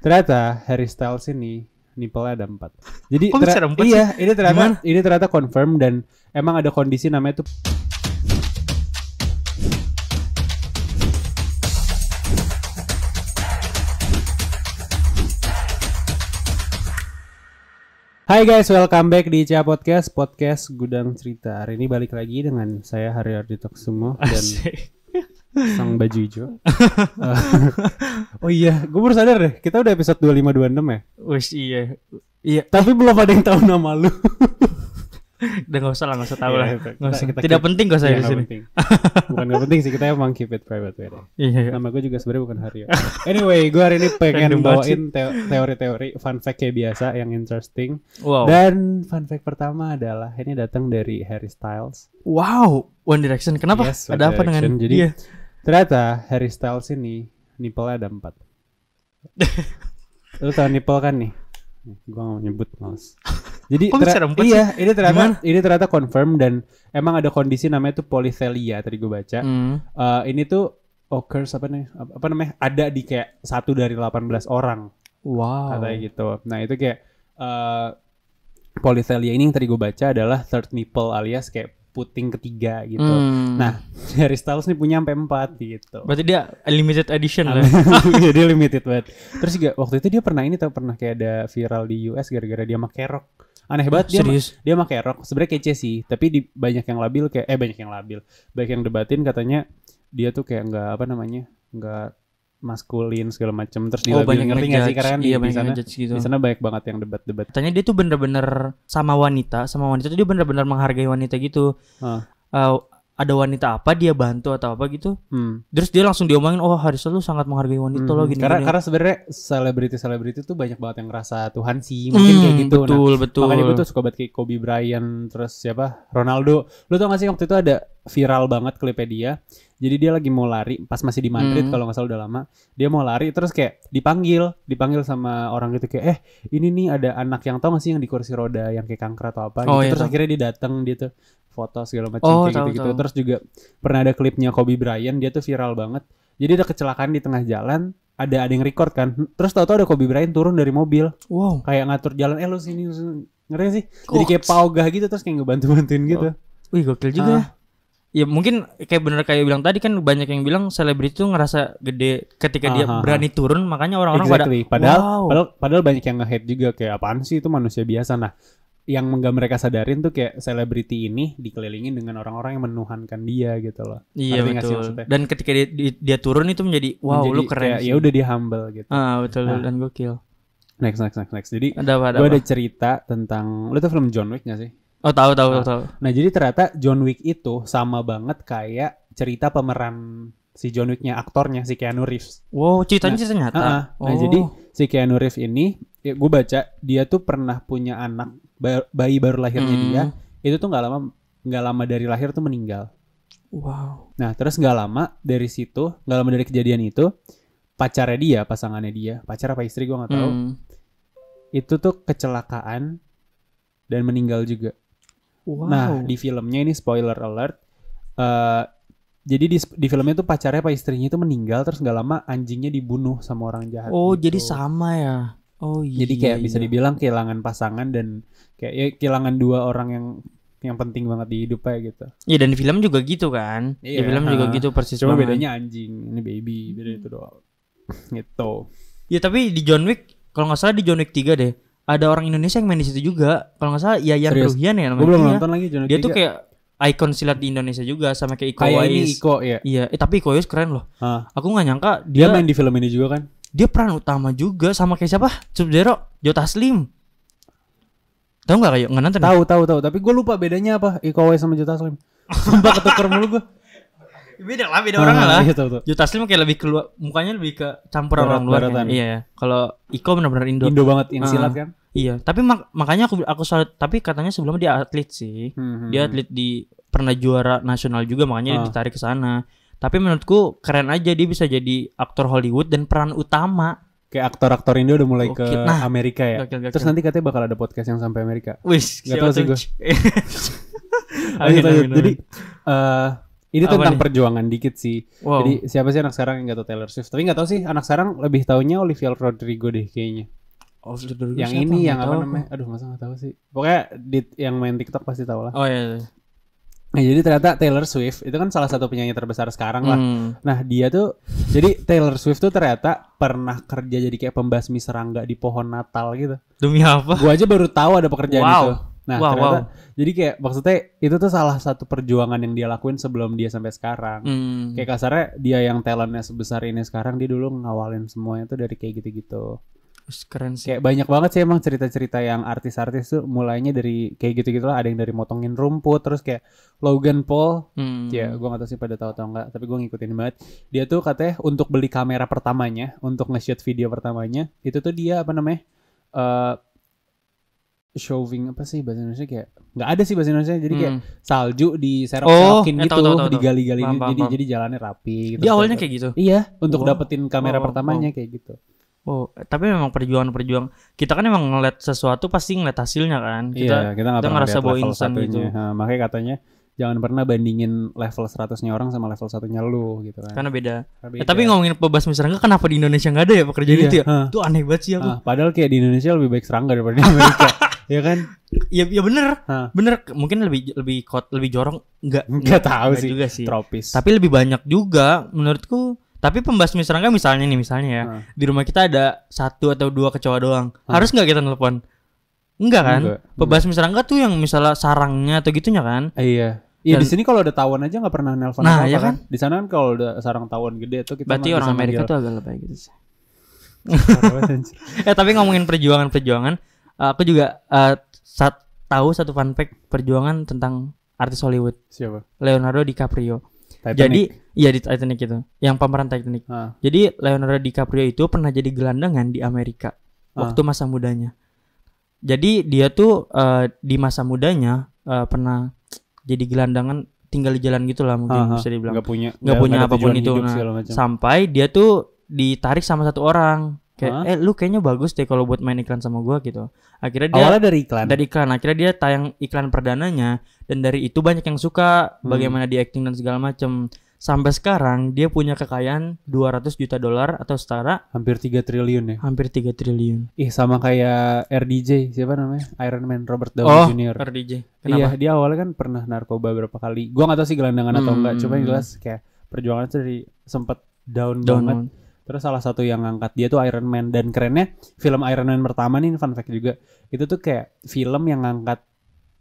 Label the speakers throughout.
Speaker 1: Ternyata Harry Styles ini nipple-nya ada empat. Jadi
Speaker 2: Kok bisa
Speaker 1: tera-
Speaker 2: ada empat
Speaker 1: iya, ini ternyata ini ternyata confirm dan emang ada kondisi namanya tuh Hai guys, welcome back di Cia Podcast, podcast Gudang Cerita. Hari ini balik lagi dengan saya Hari Ardito semua dan
Speaker 2: Asik.
Speaker 1: sang baju hijau. Eh, oh iya, gue baru sadar deh, kita udah episode 2526 ya.
Speaker 2: Wes iya. Iya,
Speaker 1: Tapi belum ada yang tahu nama lu.
Speaker 2: udah nggak usah lah, nggak usah tahu
Speaker 1: Iya,
Speaker 2: lah.
Speaker 1: kita-
Speaker 2: Nggak usah.
Speaker 1: kita
Speaker 2: Tidak
Speaker 1: keep-
Speaker 2: penting nggak usah
Speaker 1: Iya,
Speaker 2: di
Speaker 1: nggak
Speaker 2: sini.
Speaker 1: penting. Bukan gak penting sih, kita emang keep it private way deh.
Speaker 2: Iya, iya.
Speaker 1: Nama gue juga sebenarnya bukan Haryo. Anyway, gue hari ini pengen
Speaker 2: Random banget sih.
Speaker 1: bawain teo- teori-teori fun fact kayak biasa yang interesting.
Speaker 2: Wow.
Speaker 1: Dan fun fact pertama adalah ini datang dari Harry Styles.
Speaker 2: wow. One Direction. Kenapa?
Speaker 1: Yes, One
Speaker 2: ada apa
Speaker 1: Direction.
Speaker 2: dengan
Speaker 1: Jadi-
Speaker 2: dia?
Speaker 1: Ternyata Harry Styles ini nipple ada empat. Lu tau nipple kan nih? Gua gak mau nyebut males. Jadi
Speaker 2: Kok bisa ada empat
Speaker 1: iya, ini ternyata ini ternyata confirm dan emang ada kondisi namanya tuh polythelia tadi gue baca.
Speaker 2: Hmm.
Speaker 1: Eh, ini tuh occurs apa nih? Apa apa namanya? Ada di kayak satu dari 18 orang
Speaker 2: Wow.
Speaker 1: katanya gitu. Nah itu kayak eh polythelia ini yang tadi gue baca adalah third nipple alias kayak puting ketiga gitu.
Speaker 2: Hmm.
Speaker 1: Nah, Harry Styles nih punya sampai empat gitu.
Speaker 2: berarti dia limited edition lah. iya,
Speaker 1: Jadi limited banget. Terus juga waktu itu dia pernah ini tau pernah kayak ada viral di US gara-gara dia pakai rok. Aneh banget dia ma-
Speaker 2: Serius.
Speaker 1: dia pakai rok. Sebenarnya kece sih, tapi di, banyak yang labil kayak eh banyak yang labil. Banyak yang debatin katanya dia tuh kayak nggak apa namanya? nggak maskulin segala macem terus dia
Speaker 2: Oh, banyak
Speaker 1: Oh, ngerti nggak sih
Speaker 2: ngejudge.
Speaker 1: karena kan
Speaker 2: iya,
Speaker 1: di, di
Speaker 2: banyak
Speaker 1: sana
Speaker 2: ngejudge gitu.
Speaker 1: di sana banyak banget yang debat-debat.
Speaker 2: Katanya dia tuh bener-bener sama wanita, sama wanita tuh dia bener-bener menghargai wanita gitu.
Speaker 1: Hah.
Speaker 2: Eh, ada wanita apa dia bantu atau apa gitu.
Speaker 1: Hmm.
Speaker 2: Terus dia langsung diomongin, oh Harisa lu sangat menghargai wanita
Speaker 1: Mhm.
Speaker 2: Gitu loh gini.
Speaker 1: karena
Speaker 2: gini."
Speaker 1: karena sebenarnya selebriti-selebriti tuh banyak banget yang ngerasa Tuhan sih mungkin kayak
Speaker 2: Hmm,
Speaker 1: gitu. Nah,
Speaker 2: Betul, betul.
Speaker 1: Makanya gue tuh suka banget kayak Kobe Bryant terus siapa Ronaldo. Lu tau gak sih waktu itu ada viral banget klipnya dia. Jadi dia lagi mau lari pas masih di Madrid
Speaker 2: Hmm.
Speaker 1: kalau nggak salah udah lama. Dia mau lari terus kayak dipanggil, dipanggil sama orang gitu kayak eh ini nih ada anak yang tau gak sih yang di kursi roda yang kayak kanker atau apa gitu.
Speaker 2: Oh, iya,
Speaker 1: terus
Speaker 2: tau.
Speaker 1: akhirnya dia datang dia tuh foto segala macam
Speaker 2: Oh,
Speaker 1: kayak
Speaker 2: tau,
Speaker 1: gitu-gitu.
Speaker 2: tau.
Speaker 1: Terus juga pernah ada klipnya Kobe Bryant dia tuh viral banget. Jadi ada kecelakaan di tengah jalan, ada ada yang record kan. Terus tahu-tahu ada Kobe Bryant turun dari mobil
Speaker 2: wow.
Speaker 1: kayak ngatur jalan eh lu sini lu sini. ngerti gak sih jadi
Speaker 2: Oh.
Speaker 1: kayak paogah gitu terus kayak ngebantu-bantuin gitu
Speaker 2: Wih gokil juga.
Speaker 1: Ah.
Speaker 2: Ya mungkin kayak bener kayak bilang tadi kan banyak yang bilang selebriti tuh ngerasa gede ketika dia
Speaker 1: Ah, ah, ah.
Speaker 2: berani turun makanya orang-orang
Speaker 1: exactly
Speaker 2: pada
Speaker 1: padahal,
Speaker 2: wow.
Speaker 1: padahal padahal banyak yang nge-hate juga kayak apaan sih itu manusia biasa nah yang nggak mereka sadarin tuh kayak selebriti ini dikelilingin dengan orang-orang yang menuhankan dia gitu loh
Speaker 2: iya
Speaker 1: ngerti nggak sih
Speaker 2: betul.
Speaker 1: maksudnya?
Speaker 2: Dan ketika dia, dia, dia turun itu menjadi wow
Speaker 1: Menjadi
Speaker 2: lu keren.
Speaker 1: kayak,
Speaker 2: sih.
Speaker 1: ya udah dia humble gitu
Speaker 2: Ah betul
Speaker 1: Nah.
Speaker 2: dan gokil.
Speaker 1: next next next next jadi
Speaker 2: Ada apa ada.
Speaker 1: gue
Speaker 2: apa?
Speaker 1: ada cerita tentang lu tuh film John Wick gak sih
Speaker 2: Oh tahu tahu
Speaker 1: Ah.
Speaker 2: tahu. tahu.
Speaker 1: nah jadi ternyata John Wick itu sama banget kayak cerita pemeran si John Wicknya aktornya si Keanu Reeves
Speaker 2: Wow ceritanya
Speaker 1: Nah,
Speaker 2: sih ternyata.
Speaker 1: Ah, ah. Nah
Speaker 2: Oh.
Speaker 1: jadi si Keanu Reeves ini, ya gue baca dia tuh pernah punya anak ba- bayi baru lahirnya
Speaker 2: Hmm.
Speaker 1: dia, itu tuh nggak lama nggak lama dari lahir tuh meninggal.
Speaker 2: Wow.
Speaker 1: Nah terus nggak lama dari situ, nggak lama dari kejadian itu pacarnya dia, pasangannya dia, pacar apa istri gue nggak tahu,
Speaker 2: Hmm.
Speaker 1: itu tuh kecelakaan dan meninggal juga.
Speaker 2: Wow.
Speaker 1: Nah di filmnya ini spoiler alert. eh, jadi di, di filmnya tuh pacarnya apa istrinya itu meninggal terus nggak lama anjingnya dibunuh sama orang jahat.
Speaker 2: oh
Speaker 1: gitu.
Speaker 2: jadi sama ya. Oh iya.
Speaker 1: Jadi kayak bisa
Speaker 2: iya.
Speaker 1: dibilang kehilangan pasangan dan kayak ya, kehilangan dua orang yang yang penting banget di hidupnya gitu.
Speaker 2: Iya dan di film juga gitu kan. Di
Speaker 1: Iya,
Speaker 2: film juga
Speaker 1: ah.
Speaker 2: gitu persis.
Speaker 1: Cuma
Speaker 2: banget.
Speaker 1: bedanya anjing, ini baby, beda itu doang. Gitu.
Speaker 2: Ya tapi di John Wick kalau nggak salah di John Wick 3 deh ada orang Indonesia yang main di situ juga. Kalau nggak salah Yayan
Speaker 1: Serius?
Speaker 2: Ruhian ya namanya.
Speaker 1: Gue belum
Speaker 2: Iya.
Speaker 1: nonton lagi John Wick
Speaker 2: Dia tuh
Speaker 1: tiga.
Speaker 2: kayak ikon silat di Indonesia juga sama kayak Iko
Speaker 1: kayak ini
Speaker 2: Uwais.
Speaker 1: Iko ya.
Speaker 2: Iya, eh, tapi Iko Uwais keren loh.
Speaker 1: Ah.
Speaker 2: Aku nggak nyangka
Speaker 1: Dia
Speaker 2: dia dia,
Speaker 1: main di film ini juga kan?
Speaker 2: peran utama juga sama kayak siapa? Sub Zero, Joe Taslim. Tahu nggak kayak nggak nonton? ya?
Speaker 1: Tahu tahu tahu, tapi gue lupa bedanya apa Iko Uwais sama Jota Slim. Sumpah ketuker mulu gue.
Speaker 2: Beda lah, beda orang lah.
Speaker 1: Iya tahu tahu.
Speaker 2: Joe Taslim kayak lebih keluar, mukanya lebih ke campuran
Speaker 1: Barat-
Speaker 2: orang luar.
Speaker 1: baratan.
Speaker 2: kan. Iya, ya. kalau Iko benar-benar Indo.
Speaker 1: Indo banget yang
Speaker 2: Ah.
Speaker 1: silat kan?
Speaker 2: Iya, tapi mak- makanya aku aku salah- tapi katanya sebelumnya dia atlet sih.
Speaker 1: Hmm,
Speaker 2: dia
Speaker 1: hmm,
Speaker 2: atlet di pernah juara nasional juga makanya dia
Speaker 1: Ah.
Speaker 2: ditarik ke sana tapi menurutku keren aja dia bisa jadi aktor Hollywood dan peran utama
Speaker 1: hmm. kayak aktor-aktor Indo udah mulai
Speaker 2: Oke,
Speaker 1: ke
Speaker 2: nah.
Speaker 1: Amerika ya.
Speaker 2: gakil gakil
Speaker 1: Terus nanti katanya bakal ada podcast yang sampai Amerika.
Speaker 2: wis
Speaker 1: Gak tahu sih
Speaker 2: siapa tuh?
Speaker 1: Lanjut,
Speaker 2: Amin,
Speaker 1: lanjut.
Speaker 2: amin,
Speaker 1: Jadi
Speaker 2: amin.
Speaker 1: eh Ini
Speaker 2: Apa
Speaker 1: tentang
Speaker 2: nih?
Speaker 1: perjuangan dikit sih.
Speaker 2: Wow.
Speaker 1: Jadi siapa sih anak sekarang yang gak tau Taylor Swift? Tapi gak tau sih anak sekarang lebih taunya Olivia Rodrigo deh kayaknya.
Speaker 2: Of the Doors
Speaker 1: yang
Speaker 2: siapa?
Speaker 1: ini
Speaker 2: Nggak
Speaker 1: yang apa
Speaker 2: tahu aku.
Speaker 1: namanya? Aduh masa gak tau sih. Pokoknya di- yang main TikTok pasti tau lah.
Speaker 2: Oh iya. iya.
Speaker 1: Nah, jadi ternyata Taylor Swift itu kan salah satu penyanyi terbesar sekarang lah.
Speaker 2: Hmm.
Speaker 1: Nah dia tuh jadi Taylor Swift tuh ternyata pernah kerja jadi kayak pembasmi serangga di pohon Natal gitu.
Speaker 2: Demi apa?
Speaker 1: Gua aja baru tahu ada pekerjaan
Speaker 2: Wow.
Speaker 1: itu. Nah
Speaker 2: wow,
Speaker 1: ternyata
Speaker 2: wow.
Speaker 1: jadi kayak maksudnya itu tuh salah satu perjuangan yang dia lakuin sebelum dia sampai sekarang.
Speaker 2: Hmm.
Speaker 1: Kayak kasarnya dia yang talentnya sebesar ini sekarang dia dulu ngawalin semuanya tuh dari kayak gitu-gitu.
Speaker 2: Us, keren sih.
Speaker 1: Kayak banyak banget sih emang cerita-cerita yang artis-artis tuh mulainya dari kayak gitu-gitu lah. Ada yang dari motongin rumput terus kayak Logan Paul
Speaker 2: Hmm.
Speaker 1: Ya, gue gak tau sih pada tahu atau enggak, tapi gue ngikutin banget. Dia tuh katanya untuk beli kamera pertamanya, untuk nge-shoot video pertamanya, itu tuh dia apa namanya? eh shoving apa sih bahasa Indonesia kayak nggak ada sih bahasa Indonesia jadi kayak
Speaker 2: Hmm.
Speaker 1: salju di serok-serokin
Speaker 2: Oh, eh,
Speaker 1: gitu
Speaker 2: tahu, tahu, tahu, tahu.
Speaker 1: digali-gali
Speaker 2: Paham,
Speaker 1: gitu,
Speaker 2: paham,
Speaker 1: jadi
Speaker 2: paham.
Speaker 1: jadi jalannya rapi gitu
Speaker 2: Dia awalnya kayak gitu.
Speaker 1: iya untuk
Speaker 2: Wow.
Speaker 1: dapetin kamera
Speaker 2: Wow, wow,
Speaker 1: pertamanya kayak gitu
Speaker 2: Oh, tapi memang perjuangan-perjuang kita kan emang ngeliat sesuatu pasti ngeliat hasilnya kan. Kita
Speaker 1: iya kita nggak
Speaker 2: kita
Speaker 1: pernah
Speaker 2: ngerasa
Speaker 1: lihat
Speaker 2: bahwa
Speaker 1: level
Speaker 2: instan
Speaker 1: satunya
Speaker 2: gitu.
Speaker 1: Ha, makanya katanya jangan pernah bandingin level 100-nya orang sama level satunya lu gitu kan
Speaker 2: karena beda.
Speaker 1: Karena
Speaker 2: Eh, tapi
Speaker 1: beda.
Speaker 2: ngomongin pebasmi serangga kenapa di Indonesia nggak ada ya pekerjaan
Speaker 1: Iya,
Speaker 2: itu ya?
Speaker 1: ha.
Speaker 2: Itu aneh banget sih aku.
Speaker 1: Ah, padahal kayak di Indonesia lebih baik serangga daripada di Amerika. ya kan?
Speaker 2: Ya ya bener.
Speaker 1: Ha.
Speaker 2: Bener mungkin lebih lebih kot lebih jorong nggak
Speaker 1: Enggak tahu
Speaker 2: nggak
Speaker 1: sih.
Speaker 2: juga sih.
Speaker 1: Tropis.
Speaker 2: Tapi lebih banyak juga menurutku. Tapi pembasmi serangga misalnya nih misalnya ya.
Speaker 1: Ah.
Speaker 2: Di rumah kita ada satu atau dua kecoa doang. Harus nggak kita telepon? Enggak kan?
Speaker 1: Enggak, enggak.
Speaker 2: Pebasmi serangga tuh yang misalnya sarangnya atau gitunya kan?
Speaker 1: Eh, iya. Iya
Speaker 2: Dan-
Speaker 1: di sini kalau ada tawon aja nggak pernah nelpon
Speaker 2: Nah,
Speaker 1: apa-apa
Speaker 2: iya kan?
Speaker 1: Di sana kan kalau ada sarang tawon gede tuh kita mah
Speaker 2: Berarti orang
Speaker 1: bisa
Speaker 2: Amerika
Speaker 1: manggil.
Speaker 2: tuh agak lebay gitu sih. Eh tapi ngomongin perjuangan-perjuangan, aku juga eh, sa- tahu satu fun fact perjuangan tentang artis Hollywood
Speaker 1: Siapa?
Speaker 2: Leonardo DiCaprio.
Speaker 1: Titanic.
Speaker 2: Jadi iya di Titanic itu, yang pemeran Titanic.
Speaker 1: Ah.
Speaker 2: Jadi Leonardo DiCaprio itu pernah jadi gelandangan di Amerika
Speaker 1: Ah.
Speaker 2: waktu masa mudanya. Jadi dia tuh eh, di masa mudanya eh, pernah jadi gelandangan tinggal di jalan gitulah mungkin
Speaker 1: Ah, ah.
Speaker 2: bisa dibilang
Speaker 1: nggak punya
Speaker 2: nggak punya
Speaker 1: ada
Speaker 2: apapun
Speaker 1: tujuan
Speaker 2: itu,
Speaker 1: hidup
Speaker 2: nah.
Speaker 1: segala macam.
Speaker 2: sampai dia tuh ditarik sama satu orang kayak
Speaker 1: Hah?
Speaker 2: eh lu kayaknya bagus deh kalau buat main iklan sama gua gitu akhirnya dia
Speaker 1: Awalnya kan? dari iklan.
Speaker 2: dari iklan akhirnya dia tayang iklan perdananya dan dari itu banyak yang suka
Speaker 1: Hmm.
Speaker 2: bagaimana dia acting dan segala macem sampai sekarang dia punya kekayaan 200 juta dolar atau setara
Speaker 1: hampir 3 triliun ya.
Speaker 2: hampir 3 triliun
Speaker 1: Ih sama kayak RDJ siapa namanya? Iron Man Robert Downey
Speaker 2: oh
Speaker 1: Jr.
Speaker 2: RDJ
Speaker 1: Iya,
Speaker 2: kenapa
Speaker 1: dia awalnya kan pernah narkoba berapa kali. Gua nggak tahu sih gelandangan atau enggak,
Speaker 2: Hmm.
Speaker 1: cuma yang jelas kayak perjuangan tuh dari sempet down,
Speaker 2: down
Speaker 1: banget. Terus salah satu yang ngangkat dia tuh Iron Man dan kerennya film Iron Man pertama nih ini fun fact juga. Itu tuh kayak film yang ngangkat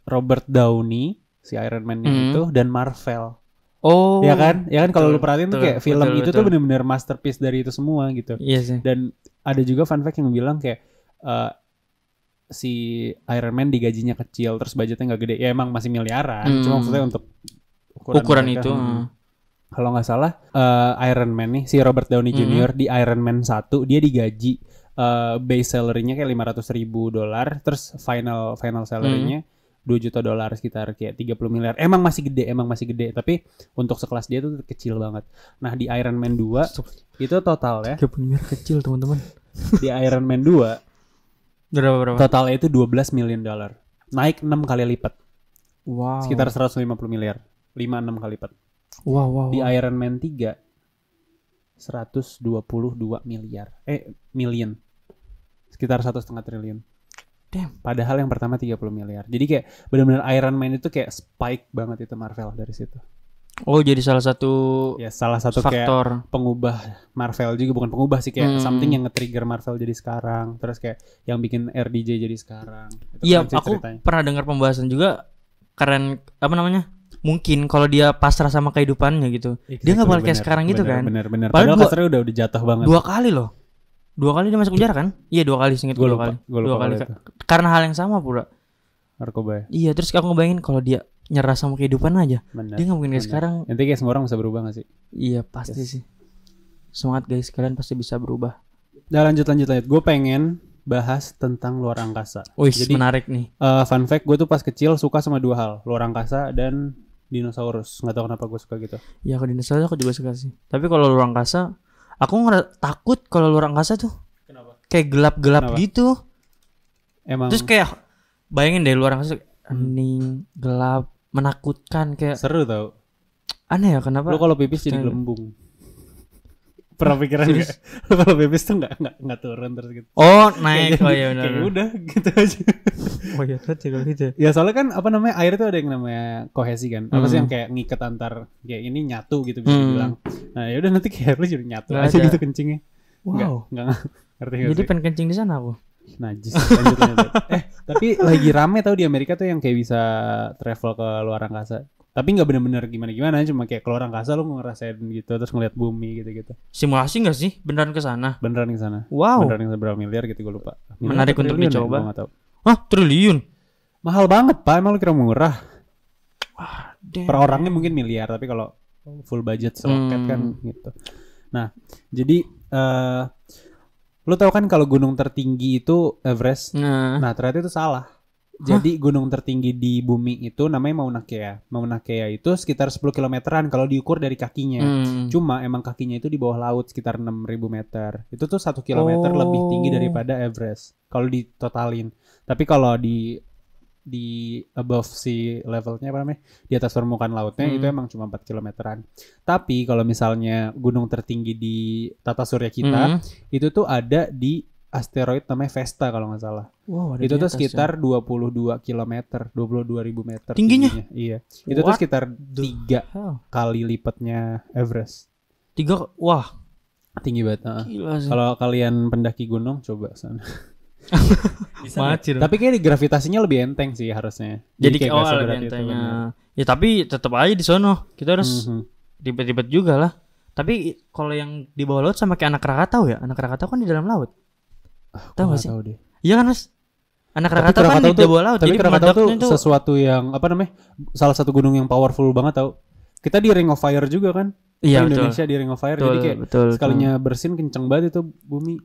Speaker 1: Robert Downey si Iron Man yang
Speaker 2: Hmm.
Speaker 1: itu dan Marvel.
Speaker 2: oh
Speaker 1: ya kan? Ya kan kalau lu
Speaker 2: betul,
Speaker 1: perhatiin tuh
Speaker 2: betul,
Speaker 1: kayak film itu
Speaker 2: betul,
Speaker 1: tuh
Speaker 2: betul.
Speaker 1: bener-bener masterpiece dari itu semua gitu
Speaker 2: iya sih
Speaker 1: dan ada juga fun fact yang bilang kayak eh, si Iron Man digajinya kecil terus budgetnya nggak gede ya emang masih miliaran
Speaker 2: Hmm.
Speaker 1: cuma maksudnya untuk
Speaker 2: ukuran,
Speaker 1: mereka,
Speaker 2: itu
Speaker 1: hmm.
Speaker 2: eh.
Speaker 1: kalau nggak salah eh, Iron Man nih si Robert Downey
Speaker 2: Hmm.
Speaker 1: Jr di Iron Man 1 dia digaji eh, base salary-nya kayak 500 ribu dolar terus final final salary-nya 2 juta dolar sekitar kayak 30 miliar. Emang masih gede, emang masih gede, tapi untuk sekelas dia tuh kecil banget. Nah, di Iron Man 2
Speaker 2: Stop.
Speaker 1: itu total ya.
Speaker 2: Kayak punya kecil teman-teman
Speaker 1: Di Iron Man 2
Speaker 2: berapa berapa
Speaker 1: Totalnya itu 12 million dollar. Naik 6 kali lipat,
Speaker 2: wow
Speaker 1: sekitar 150 miliar. 5-6 kali lipat.
Speaker 2: wow wow,
Speaker 1: Di
Speaker 2: wow.
Speaker 1: Iron Man 3 122 miliar. Eh, million. Sekitar satu setengah triliun.
Speaker 2: Damn.
Speaker 1: Padahal yang pertama 30 miliar. Jadi kayak benar-benar Iron Man itu kayak spike banget itu Marvel dari situ.
Speaker 2: oh jadi salah satu
Speaker 1: Ya salah satu kayak
Speaker 2: faktor
Speaker 1: pengubah Marvel juga bukan pengubah sih kayak
Speaker 2: Hmm.
Speaker 1: something yang nge-trigger Marvel jadi sekarang, terus kayak yang bikin RDJ jadi sekarang. Itu
Speaker 2: Iya,
Speaker 1: keren sih
Speaker 2: aku
Speaker 1: ceritanya.
Speaker 2: pernah dengar pembahasan juga keren apa namanya? Mungkin kalau dia pasrah sama kehidupannya gitu. Dia nggak boleh kayak
Speaker 1: Bener,
Speaker 2: sekarang gitu
Speaker 1: bener,
Speaker 2: kan?
Speaker 1: Bener bener.
Speaker 2: Padahal
Speaker 1: Padahal,
Speaker 2: dua-
Speaker 1: kasarnya udah udah jatuh banget.
Speaker 2: Dua kali loh. Dua kali dia masuk penjara kan? Iya, dua kali singkat
Speaker 1: Gue
Speaker 2: dua
Speaker 1: lupa.
Speaker 2: kali.
Speaker 1: Gue
Speaker 2: dua
Speaker 1: lupa
Speaker 2: kali
Speaker 1: kali
Speaker 2: ka- karena hal yang sama pula.
Speaker 1: Narkoba ya.
Speaker 2: Iya, terus aku ngebayangin kalau dia nyerah sama kehidupan aja.
Speaker 1: Bener.
Speaker 2: Dia nggak mungkin kayak
Speaker 1: bener.
Speaker 2: sekarang.
Speaker 1: Nanti kayak semua orang bisa berubah gak sih?
Speaker 2: Iya, pasti sih. Semangat guys, kalian pasti bisa berubah.
Speaker 1: Nah lanjut lanjut lanjut. Gue pengen bahas tentang luar angkasa.
Speaker 2: Wih,
Speaker 1: Jadi
Speaker 2: menarik nih.
Speaker 1: eh, fun fact gue tuh pas kecil suka sama dua hal. Luar angkasa dan dinosaurus. Gak tau kenapa gue suka gitu.
Speaker 2: Ya aku dinosaurus aku juga suka sih. Tapi kalau luar angkasa, aku ngera- takut kalau luar angkasa tuh.
Speaker 1: Kenapa?
Speaker 2: Kayak gelap-gelap
Speaker 1: Kenapa?
Speaker 2: gitu.
Speaker 1: Emang
Speaker 2: Terus kayak
Speaker 1: Hmm.
Speaker 2: bayangin deh luar angkasa kayak hening, gelap, menakutkan kayak
Speaker 1: seru tau.
Speaker 2: aneh ya kenapa
Speaker 1: Lu kalau pipis jadi
Speaker 2: Style.
Speaker 1: gelembung. Pernah pikiran
Speaker 2: Serius?
Speaker 1: nggak? Lu kalau pipis tuh nggak nggak nggak turun terus gitu.
Speaker 2: oh naik
Speaker 1: Kayak-
Speaker 2: oh ya
Speaker 1: kayak
Speaker 2: benar
Speaker 1: udah gitu aja.
Speaker 2: oh ya kan juga gitu ya.
Speaker 1: Ya soalnya kan apa namanya air itu ada yang namanya kohesi kan. Apa sih
Speaker 2: Hmm.
Speaker 1: yang kayak ngikat antar kayak ini nyatu gitu bisa
Speaker 2: Hmm.
Speaker 1: dibilang. Nah, ya udah nanti kayak lu jadi nyatu
Speaker 2: Nggak
Speaker 1: aja
Speaker 2: ada.
Speaker 1: gitu kencingnya. Nggak-
Speaker 2: wow
Speaker 1: Nggak ngerti nggak
Speaker 2: jadi
Speaker 1: sih?
Speaker 2: pengen kencing di sana aku
Speaker 1: Najis. Lanjut, lanjut. eh, tapi lagi rame tau di Amerika tuh yang kayak bisa travel ke luar angkasa. Tapi nggak bener-bener gimana-gimana, cuma kayak keluar angkasa lu ngerasain gitu, terus ngeliat bumi gitu-gitu.
Speaker 2: simulasi nggak sih beneran ke sana
Speaker 1: Beneran ke sana.
Speaker 2: wow
Speaker 1: Beneran yang berapa miliar gitu gue lupa.
Speaker 2: Menarik
Speaker 1: atau
Speaker 2: untuk
Speaker 1: triliun ya,
Speaker 2: dicoba.
Speaker 1: gua nggak tahu.
Speaker 2: ah triliun
Speaker 1: Mahal banget, Pak. Emang lu kira murah?
Speaker 2: Damn.
Speaker 1: Per orangnya mungkin miliar, tapi kalau full budget seroket
Speaker 2: Hmm.
Speaker 1: kan gitu. Nah, jadi eh lu tahu kan kalau gunung tertinggi itu Everest.
Speaker 2: nah
Speaker 1: Nah, ternyata itu salah. Jadi gunung tertinggi di bumi itu namanya Mauna Kea. Mauna Kea itu sekitar 10 kilometeran kalau diukur dari kakinya.
Speaker 2: hmm.
Speaker 1: Cuma emang kakinya itu di bawah laut sekitar 6000 meter. Itu tuh satu kilometer
Speaker 2: Oh.
Speaker 1: lebih tinggi daripada Everest kalau ditotalin. Tapi kalau di di above sea levelnya apa namanya? Di atas permukaan lautnya
Speaker 2: Hmm.
Speaker 1: itu emang cuma 4 kilometeran. Tapi kalau misalnya gunung tertinggi di tata surya kita
Speaker 2: Hmm.
Speaker 1: itu tuh ada di asteroid namanya Vesta kalau nggak salah
Speaker 2: wow ada
Speaker 1: itu
Speaker 2: di
Speaker 1: tuh
Speaker 2: atas ya.
Speaker 1: sekitar 22 kilometer, 22 ribu meter
Speaker 2: Tingginya?
Speaker 1: Iya. Itu tuh
Speaker 2: What
Speaker 1: sekitar
Speaker 2: the
Speaker 1: tiga
Speaker 2: hell?
Speaker 1: kali lipatnya Everest.
Speaker 2: tiga wah
Speaker 1: Tinggi banget. heeh.
Speaker 2: gila sih
Speaker 1: Kalau kalian pendaki gunung coba sana.
Speaker 2: Mati dong.
Speaker 1: Tapi kayaknya di gravitasinya lebih enteng sih harusnya. kayak
Speaker 2: jadi kayak
Speaker 1: nggak
Speaker 2: oh, awal
Speaker 1: seberat itu,
Speaker 2: gentengnya
Speaker 1: bener.
Speaker 2: ya tapi tetap aja di sono kita harus
Speaker 1: Mhm.
Speaker 2: ribet-ribet juga lah tapi i- kalau yang di bawah laut sama kayak anak Krakatau ya anak Krakatau kan di dalam laut
Speaker 1: Ah, gua
Speaker 2: Tahu nggak
Speaker 1: nggak
Speaker 2: sih?
Speaker 1: tahu deh.
Speaker 2: iya kan mas
Speaker 1: Tapi
Speaker 2: anak Krakatau kan
Speaker 1: Krakatau
Speaker 2: di
Speaker 1: tuh-
Speaker 2: bawah laut
Speaker 1: Tapi
Speaker 2: jadi
Speaker 1: Krakatau tuh
Speaker 2: pemandatnya tuh
Speaker 1: sesuatu yang apa namanya? Salah satu gunung yang powerful banget tau. Kita di Ring of Fire juga kan?
Speaker 2: iya betul
Speaker 1: Indonesia di Ring of Fire.
Speaker 2: betul,
Speaker 1: jadi kayak
Speaker 2: betul, betul.
Speaker 1: sekalinya bersin kenceng banget itu bumi.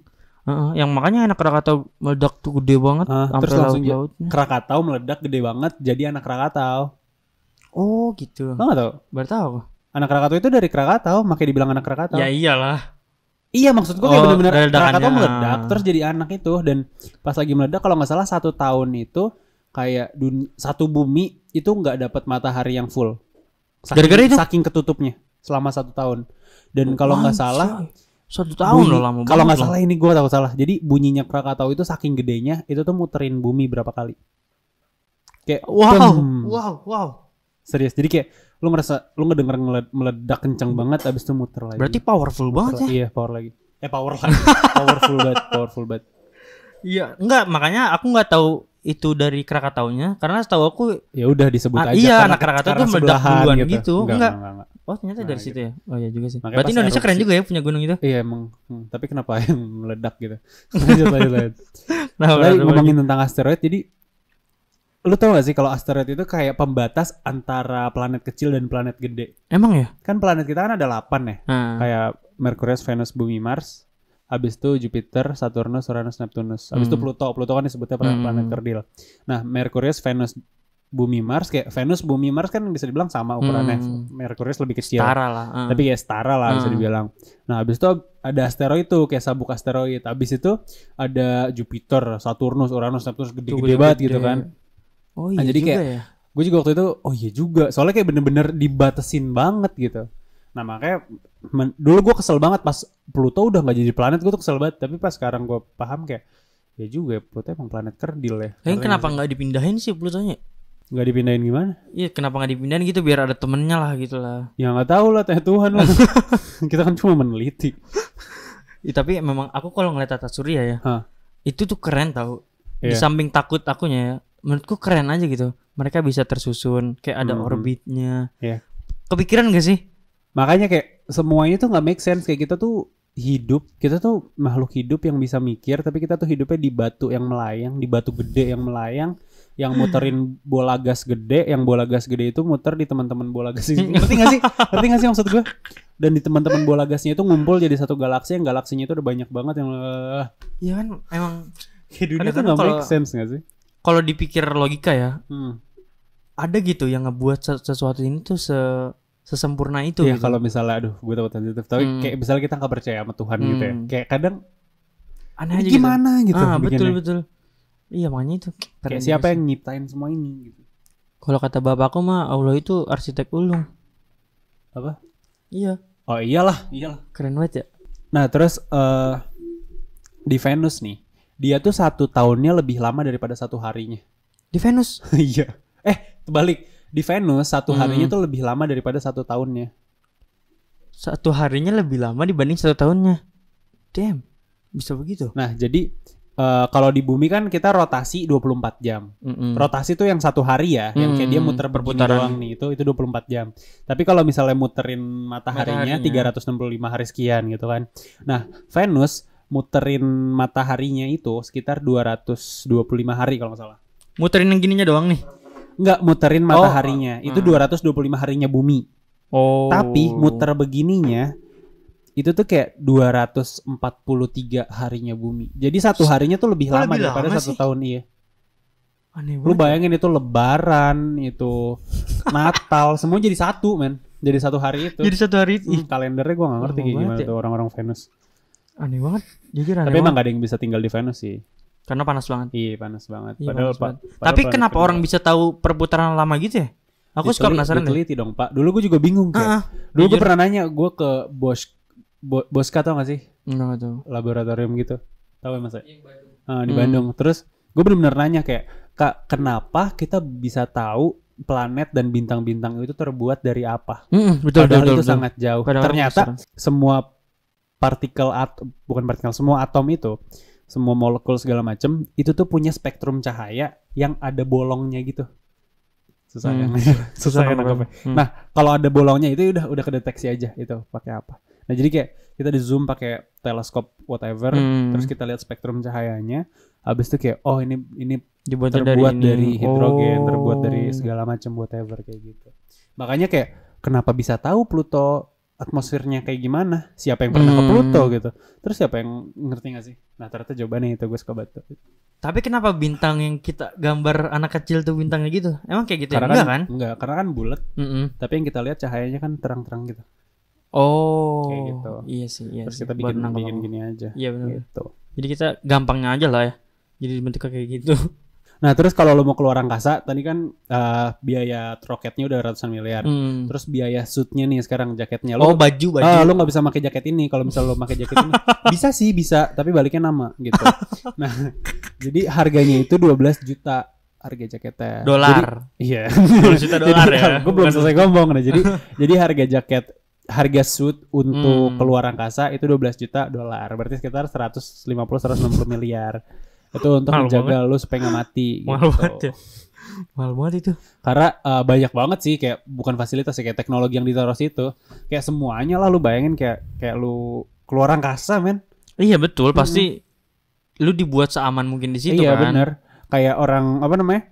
Speaker 2: Heeh, yang makanya anak Krakatau meledak tuh gede banget
Speaker 1: Ah,
Speaker 2: sampai
Speaker 1: terus langsung ja-
Speaker 2: laut-lautnya
Speaker 1: Krakatau meledak gede banget jadi anak Krakatau.
Speaker 2: oh gitu
Speaker 1: Lo gak tau?
Speaker 2: baru tahu aku.
Speaker 1: Anak Krakatau itu dari Krakatau, makanya dibilang anak Krakatau.
Speaker 2: ya iyalah
Speaker 1: Iya maksud gua kayak
Speaker 2: Oh,
Speaker 1: bener-bener
Speaker 2: dari ledakannya.
Speaker 1: Krakatau meledak terus jadi anak itu dan pas lagi meledak kalau nggak salah satu tahun itu kayak dun- satu bumi itu nggak dapat matahari yang full. Saking,
Speaker 2: Gara-gara itu?
Speaker 1: saking ketutupnya selama satu tahun. Dan kalau nggak salah
Speaker 2: Anjay, satu tahun
Speaker 1: bunyi-
Speaker 2: loh lama
Speaker 1: Kalau nggak
Speaker 2: banget loh.
Speaker 1: salah ini gua tahu salah. Jadi bunyinya Krakatau itu saking gedenya itu tuh muterin bumi berapa kali. Kayak
Speaker 2: wow
Speaker 1: "Bum."
Speaker 2: wow wow
Speaker 1: Serius. Jadi kayak lu ngerasa lu ngedenger ngeled- meledak kencang banget abis itu muter lagi.
Speaker 2: berarti powerful
Speaker 1: Muter
Speaker 2: banget ya
Speaker 1: lagi. Iya, power lagi. Eh power lagi. powerful banget, powerful banget.
Speaker 2: Iya, enggak makanya aku nggak tahu itu dari Krakataunya karena setahu aku
Speaker 1: Ya udah disebut
Speaker 2: Ah,
Speaker 1: aja.
Speaker 2: iya,
Speaker 1: karena-
Speaker 2: anak Krakatau
Speaker 1: karena
Speaker 2: tuh meledak
Speaker 1: sebelahan
Speaker 2: duluan gitu.
Speaker 1: Enggak,
Speaker 2: Enggak.
Speaker 1: enggak, enggak, enggak.
Speaker 2: oh ternyata
Speaker 1: Nah,
Speaker 2: dari
Speaker 1: gitu.
Speaker 2: situ ya. Oh iya juga sih.
Speaker 1: Makanya
Speaker 2: Berarti
Speaker 1: pas
Speaker 2: Indonesia keren
Speaker 1: erupsi.
Speaker 2: juga ya punya gunung itu.
Speaker 1: Iya emang. Hmm, tapi kenapa yang meledak gitu? Lanjut lanjut lanjut.
Speaker 2: Nah,
Speaker 1: Lagi
Speaker 2: benar-benar.
Speaker 1: ngomongin tentang asteroid, jadi lu tau gak sih kalau asteroid itu kayak pembatas antara planet kecil dan planet gede?
Speaker 2: Emang ya?
Speaker 1: Kan planet kita kan ada 8 ya.
Speaker 2: Nah,
Speaker 1: kayak Merkurius, Venus, Bumi, Mars. Habis itu Jupiter, Saturnus, Uranus, Neptunus. Habis itu
Speaker 2: Hmm.
Speaker 1: Pluto. Pluto kan disebutnya planet,
Speaker 2: Hmm.
Speaker 1: planet kerdil. Nah, Merkurius, Venus, Bumi, Mars kayak Venus, Bumi, Mars kan bisa dibilang sama ukurannya.
Speaker 2: Hmm.
Speaker 1: Merkurius lebih kecil.
Speaker 2: setara lah. ah.
Speaker 1: Tapi kayak setara lah bisa
Speaker 2: Hmm.
Speaker 1: dibilang. Nah, habis itu ada asteroid tuh kayak sabuk asteroid. Habis itu ada Jupiter, Saturnus, Uranus, Neptunus
Speaker 2: Tuh,
Speaker 1: gede-gede banget gitu kan.
Speaker 2: ya. Oh
Speaker 1: Nah,
Speaker 2: iya
Speaker 1: jadi
Speaker 2: juga
Speaker 1: kayak-
Speaker 2: ya.
Speaker 1: Gue juga waktu itu, oh iya juga. Soalnya kayak bener-bener dibatasin banget gitu. Nah makanya men- dulu gue kesel banget pas Pluto udah nggak jadi planet gue tuh kesel banget. Tapi pas sekarang gue paham kayak ya juga ya Pluto emang planet kerdil ya.
Speaker 2: Lain Eh, kenapa nggak dipindahin sih Plutonya?
Speaker 1: Nggak dipindahin gimana?
Speaker 2: Iya, kenapa nggak dipindahin gitu biar ada temennya lah gitu lah.
Speaker 1: Ya nggak tahu lah tanya Tuhan lah. Kita kan cuma meneliti.
Speaker 2: Ih, tapi memang aku kalau ngeliat tata surya ya,
Speaker 1: Hah.
Speaker 2: itu tuh keren tau. Di
Speaker 1: Iya.
Speaker 2: samping takut akunya ya, menurutku keren aja gitu. Mereka bisa tersusun, kayak ada
Speaker 1: Mhm.
Speaker 2: orbitnya.
Speaker 1: Iya.
Speaker 2: Kepikiran gak sih?
Speaker 1: Makanya kayak semuanya tuh nggak make sense kayak kita tuh hidup kita tuh makhluk hidup yang bisa mikir tapi kita tuh hidupnya di batu yang melayang di batu gede yang melayang yang muterin bola gas gede yang bola gas gede itu muter di teman-teman bola gas ini. ngerti gak sih ngerti gak sih maksud gue dan di teman-teman bola gasnya itu ngumpul jadi satu galaksi yang galaksinya itu udah banyak banget yang eh,
Speaker 2: Iya kan emang
Speaker 1: kayak dunia tuh
Speaker 2: Kadang-kadang
Speaker 1: nggak make
Speaker 2: kalau-
Speaker 1: sense gak sih
Speaker 2: kalau dipikir logika ya
Speaker 1: hmm.
Speaker 2: ada gitu yang ngebuat se- sesuatu ini tuh se- sesempurna itu
Speaker 1: Iya
Speaker 2: gitu.
Speaker 1: kalau misalnya aduh gue takut sensitif tapi
Speaker 2: Hmm.
Speaker 1: kayak misalnya kita nggak percaya sama Tuhan gitu ya
Speaker 2: Hmm.
Speaker 1: kayak kadang
Speaker 2: aneh
Speaker 1: "Ini
Speaker 2: aja
Speaker 1: gimana
Speaker 2: gitu.
Speaker 1: gitu,
Speaker 2: ah betul
Speaker 1: bikinnya."
Speaker 2: betul iya makanya itu keren
Speaker 1: kayak
Speaker 2: juga
Speaker 1: siapa
Speaker 2: sih.
Speaker 1: yang nyiptain semua ini gitu
Speaker 2: kalau kata bapakku mah Allah itu arsitek ulung
Speaker 1: apa?
Speaker 2: Iya,
Speaker 1: Oh iyalah, iyalah.
Speaker 2: keren banget ya.
Speaker 1: Nah terus eh di Venus nih, dia tuh satu tahunnya lebih lama daripada satu harinya.
Speaker 2: Di Venus.
Speaker 1: Iya. eh terbalik di Venus satu
Speaker 2: Hmm.
Speaker 1: harinya tuh lebih lama daripada satu tahunnya.
Speaker 2: Satu harinya lebih lama dibanding satu tahunnya. Damn. Bisa begitu.
Speaker 1: Nah jadi eh kalau di bumi kan kita rotasi 24 jam.
Speaker 2: Mm-mm.
Speaker 1: Rotasi tuh yang satu hari ya, yang kayak dia
Speaker 2: Hmm,
Speaker 1: muter berputar doang
Speaker 2: perputaran.
Speaker 1: nih itu itu 24 jam. Tapi kalau misalnya muterin mataharinya,
Speaker 2: Mataharinya.
Speaker 1: 365 hari sekian gitu kan. Nah, Venus muterin mataharinya itu sekitar 225 hari kalau nggak salah.
Speaker 2: Muterin yang gininya doang nih.
Speaker 1: Nggak muterin
Speaker 2: Oh,
Speaker 1: mataharinya, itu
Speaker 2: hmm.
Speaker 1: 225 harinya bumi.
Speaker 2: Oh.
Speaker 1: Tapi muter begininya itu tuh kayak 243 harinya bumi. Jadi satu harinya tuh lebih
Speaker 2: Kok
Speaker 1: lama
Speaker 2: lebih
Speaker 1: daripada
Speaker 2: lama
Speaker 1: satu
Speaker 2: sih?
Speaker 1: tahun iya.
Speaker 2: Aneh banget.
Speaker 1: Lu bayangin itu lebaran, itu Natal, semua jadi satu, men. Jadi satu hari itu.
Speaker 2: Jadi satu hari
Speaker 1: Hmm,
Speaker 2: ih,
Speaker 1: kalendernya gua gak ngerti
Speaker 2: Lama
Speaker 1: kayak gimana
Speaker 2: banget ya.
Speaker 1: tuh orang-orang Venus.
Speaker 2: aneh banget. Jujur aneh
Speaker 1: Tapi
Speaker 2: banget.
Speaker 1: emang gak ada yang bisa tinggal di Venus sih.
Speaker 2: Karena panas banget.
Speaker 1: Iya, panas banget.
Speaker 2: Iya,
Speaker 1: padahal,
Speaker 2: panas
Speaker 1: Pak.
Speaker 2: Tapi kenapa orang bisa tahu perputaran lama gitu ya? Aku suka penasaran deh.
Speaker 1: Diteliti dong, Pak. Dulu gue juga bingung kan.
Speaker 2: Ah, ah.
Speaker 1: Dulu gue
Speaker 2: jujur.
Speaker 1: pernah nanya gue ke Bos Bo- Boska tau gak sih?
Speaker 2: Enggak tahu.
Speaker 1: Laboratorium gitu. Tahu ya Mas? Iya, di
Speaker 2: Hmm.
Speaker 1: Bandung. Terus gue bener-bener nanya kayak, "Kak, kenapa kita bisa tahu planet dan bintang-bintang itu terbuat dari apa?"
Speaker 2: Mm-mm, betul, betul,
Speaker 1: Padahal
Speaker 2: betul,
Speaker 1: itu
Speaker 2: betul.
Speaker 1: sangat jauh.
Speaker 2: Kadang orang
Speaker 1: Ternyata
Speaker 2: penasaran.
Speaker 1: semua partikel at bukan partikel, semua atom itu, semua molekul segala macem itu tuh punya spektrum cahaya yang ada bolongnya gitu. Susah
Speaker 2: Hmm.
Speaker 1: kan? Susah kan
Speaker 2: Kenapa?
Speaker 1: nangkepnya.
Speaker 2: Hmm.
Speaker 1: Nah, kalau ada bolongnya itu udah udah kedeteksi aja itu pakai apa. Nah, jadi kayak kita di zoom pakai teleskop whatever,
Speaker 2: Hmm.
Speaker 1: terus kita lihat spektrum cahayanya. Habis itu kayak oh ini ini
Speaker 2: dibuat
Speaker 1: terbuat dari,
Speaker 2: ini.
Speaker 1: hidrogen, terbuat dari
Speaker 2: Oh.
Speaker 1: segala macam whatever kayak gitu. Makanya kayak kenapa bisa tahu Pluto atmosfernya kayak gimana? Siapa yang pernah ke
Speaker 2: Hmm.
Speaker 1: Pluto gitu? Terus siapa yang ngerti gak sih? Nah ternyata jawabannya itu gue suka banget. tuh.
Speaker 2: Tapi kenapa bintang yang kita gambar anak kecil tuh bintangnya gitu? Emang kayak gitu ya?
Speaker 1: Karena
Speaker 2: Enggak kan?
Speaker 1: Enggak, karena kan bulat.
Speaker 2: Mm-mm.
Speaker 1: Tapi yang kita lihat cahayanya kan terang-terang gitu.
Speaker 2: Oh.
Speaker 1: Kayak gitu.
Speaker 2: Iya sih, iya
Speaker 1: Terus
Speaker 2: sih.
Speaker 1: kita
Speaker 2: Baru
Speaker 1: bikin
Speaker 2: nangkep
Speaker 1: bikin
Speaker 2: aku.
Speaker 1: gini aja.
Speaker 2: Iya benar.
Speaker 1: Gitu.
Speaker 2: Jadi kita gampangnya aja lah ya. Jadi bentuknya kayak gitu.
Speaker 1: Nah terus kalau lo mau keluar angkasa, tadi kan eh, biaya roketnya udah ratusan miliar.
Speaker 2: Hmm.
Speaker 1: Iya. Terus biaya suitnya nih sekarang jaketnya lo
Speaker 2: Oh, baju baju.
Speaker 1: Ah, lo nggak bisa pakai jaket ini. Kalau misal lo pakai jaket ini, bisa sih bisa, tapi baliknya nama gitu. Nah, jadi harganya itu 12 juta harga jaketnya. Jadi-
Speaker 2: dolar.
Speaker 1: Iya.
Speaker 2: 12 juta dolar ya.
Speaker 1: Gue belum
Speaker 2: Bukan-
Speaker 1: selesai ngomong nah. Jadi jadi harga jaket harga suit untuk
Speaker 2: Hmm.
Speaker 1: keluar angkasa itu 12 juta dolar. Berarti sekitar 150 160 miliar. Itu untuk
Speaker 2: Mahal
Speaker 1: menjaga lo supaya nggak mati.
Speaker 2: Mahal
Speaker 1: gitu.
Speaker 2: banget ya. Mahal banget itu.
Speaker 1: Karena eh, banyak banget sih kayak bukan fasilitas ya kayak teknologi yang ditaruh situ. Kayak semuanya lah lu bayangin kayak kayak lu keluar angkasa men.
Speaker 2: Iya betul, pasti lu dibuat seaman mungkin di situ
Speaker 1: Hmm. iya
Speaker 2: kan.
Speaker 1: bener. Kayak orang apa namanya?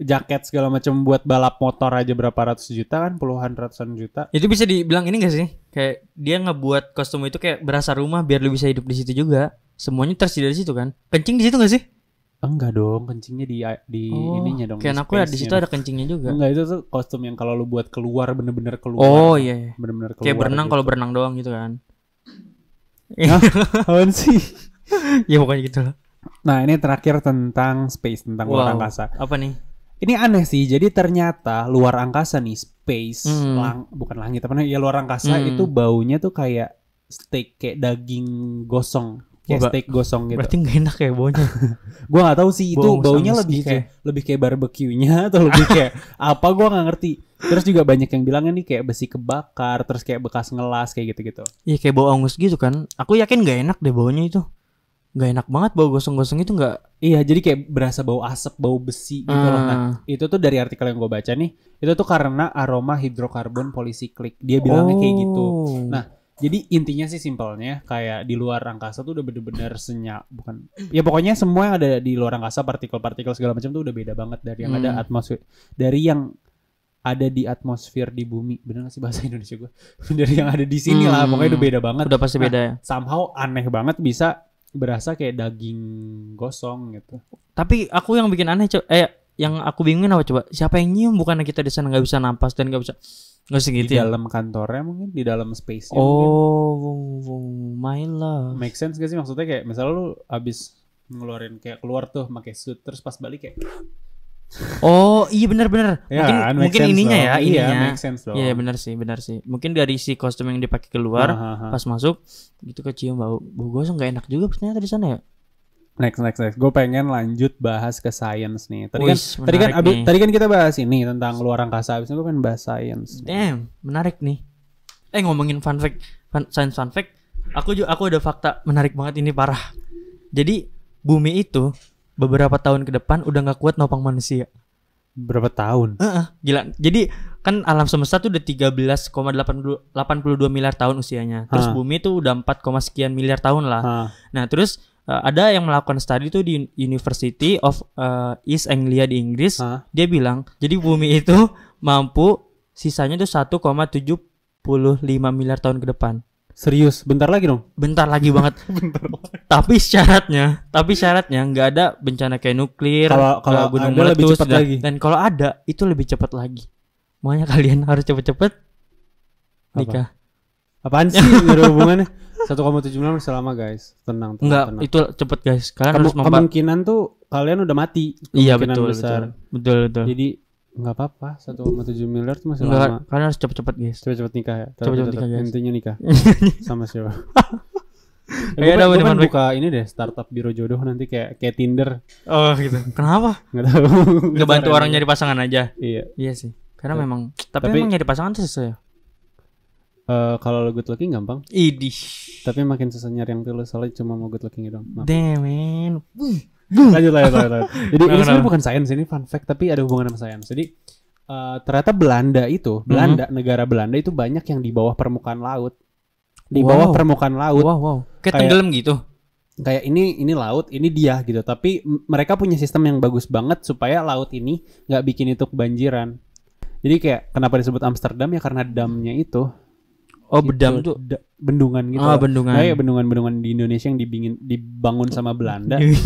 Speaker 1: jaket segala macam buat balap motor aja berapa ratus juta kan puluhan ratusan juta
Speaker 2: Itu bisa dibilang ini gak sih? Kayak dia ngebuat kostum itu kayak berasa rumah biar lu bisa hidup di situ juga. Semuanya tersedia di situ kan. Kencing di situ gak sih?
Speaker 1: enggak dong kencingnya di di ininya dong
Speaker 2: Kayak
Speaker 1: di
Speaker 2: aku ya di
Speaker 1: space-nya
Speaker 2: situ
Speaker 1: dong.
Speaker 2: ada kencingnya juga.
Speaker 1: enggak itu tuh kostum yang kalau lu buat keluar bener-bener keluar
Speaker 2: Oh iya. iya.
Speaker 1: bener-bener keluar
Speaker 2: Kayak berenang
Speaker 1: gitu.
Speaker 2: kalau berenang doang gitu kan.
Speaker 1: Apaan sih
Speaker 2: ya pokoknya gitu lah.
Speaker 1: nah ini terakhir tentang space tentang luar angkasa
Speaker 2: Apa nih?
Speaker 1: Ini aneh sih. Jadi ternyata luar angkasa nih space
Speaker 2: Hmm.
Speaker 1: lang- bukan langit apa namanya? Ya luar angkasa
Speaker 2: Hmm.
Speaker 1: itu baunya tuh kayak steak kayak daging gosong. Kayak
Speaker 2: Wah, ba-
Speaker 1: steak gosong gitu.
Speaker 2: Berarti gak enak kayak baunya.
Speaker 1: Gua nggak tahu sih itu
Speaker 2: Bau
Speaker 1: baunya
Speaker 2: sangus
Speaker 1: lebih
Speaker 2: gitu
Speaker 1: kayak lebih kayak barbeque-nya atau lebih kayak apa gua nggak ngerti. Terus juga banyak yang bilangnya nih kayak besi kebakar, terus kayak bekas ngelas kayak gitu-gitu.
Speaker 2: Iya kayak bau angus gitu kan. Aku yakin gak enak deh baunya itu. Gak enak banget bau gosong-gosong itu gak.
Speaker 1: Iya, jadi kayak berasa bau asap, bau besi gitu loh. Nah,
Speaker 2: Ah.
Speaker 1: itu tuh dari artikel yang gue baca nih, itu tuh karena aroma hidrokarbon polisiklik. Dia bilangnya kayak gitu.
Speaker 2: Oh.
Speaker 1: Nah, jadi intinya sih simpelnya kayak di luar angkasa tuh udah bener-bener senyap, bukan? Ya pokoknya semua yang ada di luar angkasa, partikel-partikel segala macam tuh udah beda banget dari yang ada
Speaker 2: Hmm.
Speaker 1: atmosfer, dari yang ada di atmosfer di bumi, bener gak sih bahasa Indonesia gue? dari yang ada di sini lah,
Speaker 2: Hmm.
Speaker 1: pokoknya udah beda banget.
Speaker 2: udah pasti
Speaker 1: Nah,
Speaker 2: beda ya.
Speaker 1: Somehow aneh banget bisa berasa kayak daging gosong gitu.
Speaker 2: Tapi aku yang bikin aneh coba eh yang aku bingungin apa coba? Siapa yang nyium bukannya kita di sana nggak bisa napas dan nggak bisa nggak
Speaker 1: di
Speaker 2: segitu ya?
Speaker 1: dalam kantornya mungkin, di dalam space-nya mungkin.
Speaker 2: Oh, my love.
Speaker 1: Make sense gak sih maksudnya kayak misalnya lu abis ngeluarin kayak keluar tuh pakai suit terus pas balik kayak
Speaker 2: Oh iya benar-benar.
Speaker 1: Ya
Speaker 2: mungkin
Speaker 1: kan, make
Speaker 2: mungkin
Speaker 1: sense
Speaker 2: ininya
Speaker 1: dong.
Speaker 2: ya
Speaker 1: Iya,
Speaker 2: ininya.
Speaker 1: make sense dong.
Speaker 2: Iya benar sih benar sih. Mungkin dari si kostum yang dipakai keluar
Speaker 1: Hahaha.
Speaker 2: pas masuk gitu kecium bau bau gosong nggak enak juga ternyata di sana ya.
Speaker 1: Next, next, next. Gue pengen lanjut bahas ke science nih. Tadi
Speaker 2: Wis,
Speaker 1: kan, tadi kan,
Speaker 2: menarik
Speaker 1: abis-
Speaker 2: nih.
Speaker 1: tadi kan kita bahas ini tentang luar angkasa. Abis itu gue pengen bahas science. nih.
Speaker 2: Damn menarik nih. Eh ngomongin fun fact fun, science fun fact. Aku juga aku ada fakta menarik banget ini parah. Jadi bumi itu beberapa tahun ke depan udah nggak kuat nopang manusia.
Speaker 1: Berapa tahun?
Speaker 2: Heeh, gila. Jadi kan alam semesta tuh udah 13,82 82 miliar tahun usianya. Terus
Speaker 1: Hah.
Speaker 2: bumi tuh udah 4, koma sekian miliar tahun lah.
Speaker 1: Hah.
Speaker 2: Nah, terus eh, ada yang melakukan studi tuh di University of eh, East Anglia di Inggris.
Speaker 1: Hah?
Speaker 2: Dia bilang, jadi bumi itu mampu sisanya tuh 1,75 miliar tahun ke depan.
Speaker 1: Serius? Bentar lagi dong.
Speaker 2: Bentar lagi banget. Tapi syaratnya, tapi syaratnya nggak ada bencana kayak nuklir,
Speaker 1: Kalau- kalau
Speaker 2: eh, gunung
Speaker 1: ada lebih
Speaker 2: meletus
Speaker 1: cepat
Speaker 2: dan,
Speaker 1: lagi.
Speaker 2: dan kalau ada itu lebih cepat lagi. Makanya kalian harus cepet-cepet
Speaker 1: Apa?
Speaker 2: nikah.
Speaker 1: Apaan sih? Nggak ada hubungannya. 1,79 masih lama guys. Tenang, tenang,
Speaker 2: Enggak,
Speaker 1: tenang.
Speaker 2: itu cepet guys. Kalian
Speaker 1: Kemu-
Speaker 2: harus memper
Speaker 1: kemungkinan tuh kalian udah mati.
Speaker 2: Iya
Speaker 1: kemungkinan
Speaker 2: betul,
Speaker 1: besar.
Speaker 2: betul. Betul betul.
Speaker 1: Jadi nggak apa-apa. 1,7 miliar tuh masih
Speaker 2: Enggak,
Speaker 1: lama.
Speaker 2: kalian harus cepet-cepet guys.
Speaker 1: Cepet-cepet nikah ya.
Speaker 2: Cepet-cepet nikah, guys.
Speaker 1: Intinya nikah. Sama siapa?
Speaker 2: Iya,
Speaker 1: Eh,
Speaker 2: ada
Speaker 1: gue pengen
Speaker 2: bener-bener.
Speaker 1: buka ini deh startup biro jodoh nanti kayak kayak Tinder
Speaker 2: Oh gitu. Kenapa?
Speaker 1: nggak tahu
Speaker 2: Nggak bantu orang nyari pasangan aja.
Speaker 1: iya
Speaker 2: Iya sih. Karena
Speaker 1: Tapi-
Speaker 2: memang tapi,
Speaker 1: tapi-
Speaker 2: memang nyari pasangan tuh susah ya.
Speaker 1: Eh, kalau lo good looking gampang
Speaker 2: Idih.
Speaker 1: tapi makin susah nyari yang tulus soalnya cuma mau good looking doang Maaf.
Speaker 2: Damn man.
Speaker 1: lanjut lanjut lanjut, lanjut. jadi
Speaker 2: Kenapa,
Speaker 1: ini sebenarnya
Speaker 2: kenapa?
Speaker 1: bukan sains ini fun fact tapi ada hubungan sama sains jadi eh, ternyata Belanda itu Belanda
Speaker 2: Mhm.
Speaker 1: negara Belanda itu banyak yang di bawah permukaan laut di
Speaker 2: Wow.
Speaker 1: bawah permukaan laut
Speaker 2: Wow wow.
Speaker 1: Kayak-
Speaker 2: Kayak tenggelam gitu.
Speaker 1: kayak ini ini laut ini dia gitu tapi m- mereka punya sistem yang bagus banget supaya laut ini nggak bikin itu kebanjiran jadi kayak kenapa disebut Amsterdam ya karena damnya itu
Speaker 2: Oh bedam
Speaker 1: itu
Speaker 2: tuh.
Speaker 1: da- bendungan gitu
Speaker 2: Ah,
Speaker 1: loh.
Speaker 2: bendungan.
Speaker 1: Nah, kayak bendungan-bendungan di Indonesia yang dibingin, dibangun sama Belanda
Speaker 2: Iya.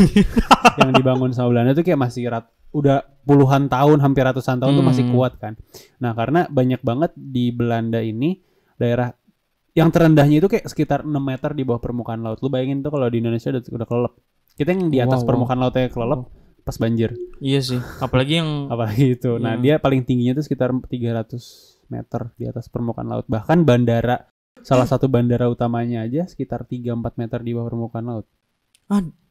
Speaker 1: yang dibangun sama Belanda tuh kayak masih rat, udah puluhan tahun hampir ratusan tahun tuh masih
Speaker 2: Hmm.
Speaker 1: kuat kan nah karena banyak banget di Belanda ini daerah yang terendahnya itu kayak sekitar 6 meter di bawah permukaan laut lu bayangin tuh kalau di Indonesia udah, udah kelelep kita yang di atas
Speaker 2: Wow, wow.
Speaker 1: permukaan lautnya kelelep pas banjir
Speaker 2: Iya sih, apalagi yang
Speaker 1: apalagi itu nah dia
Speaker 2: Iya.
Speaker 1: paling tingginya tuh sekitar 300 meter di atas permukaan laut bahkan bandara salah satu bandara utamanya aja sekitar 3-4 meter di bawah permukaan laut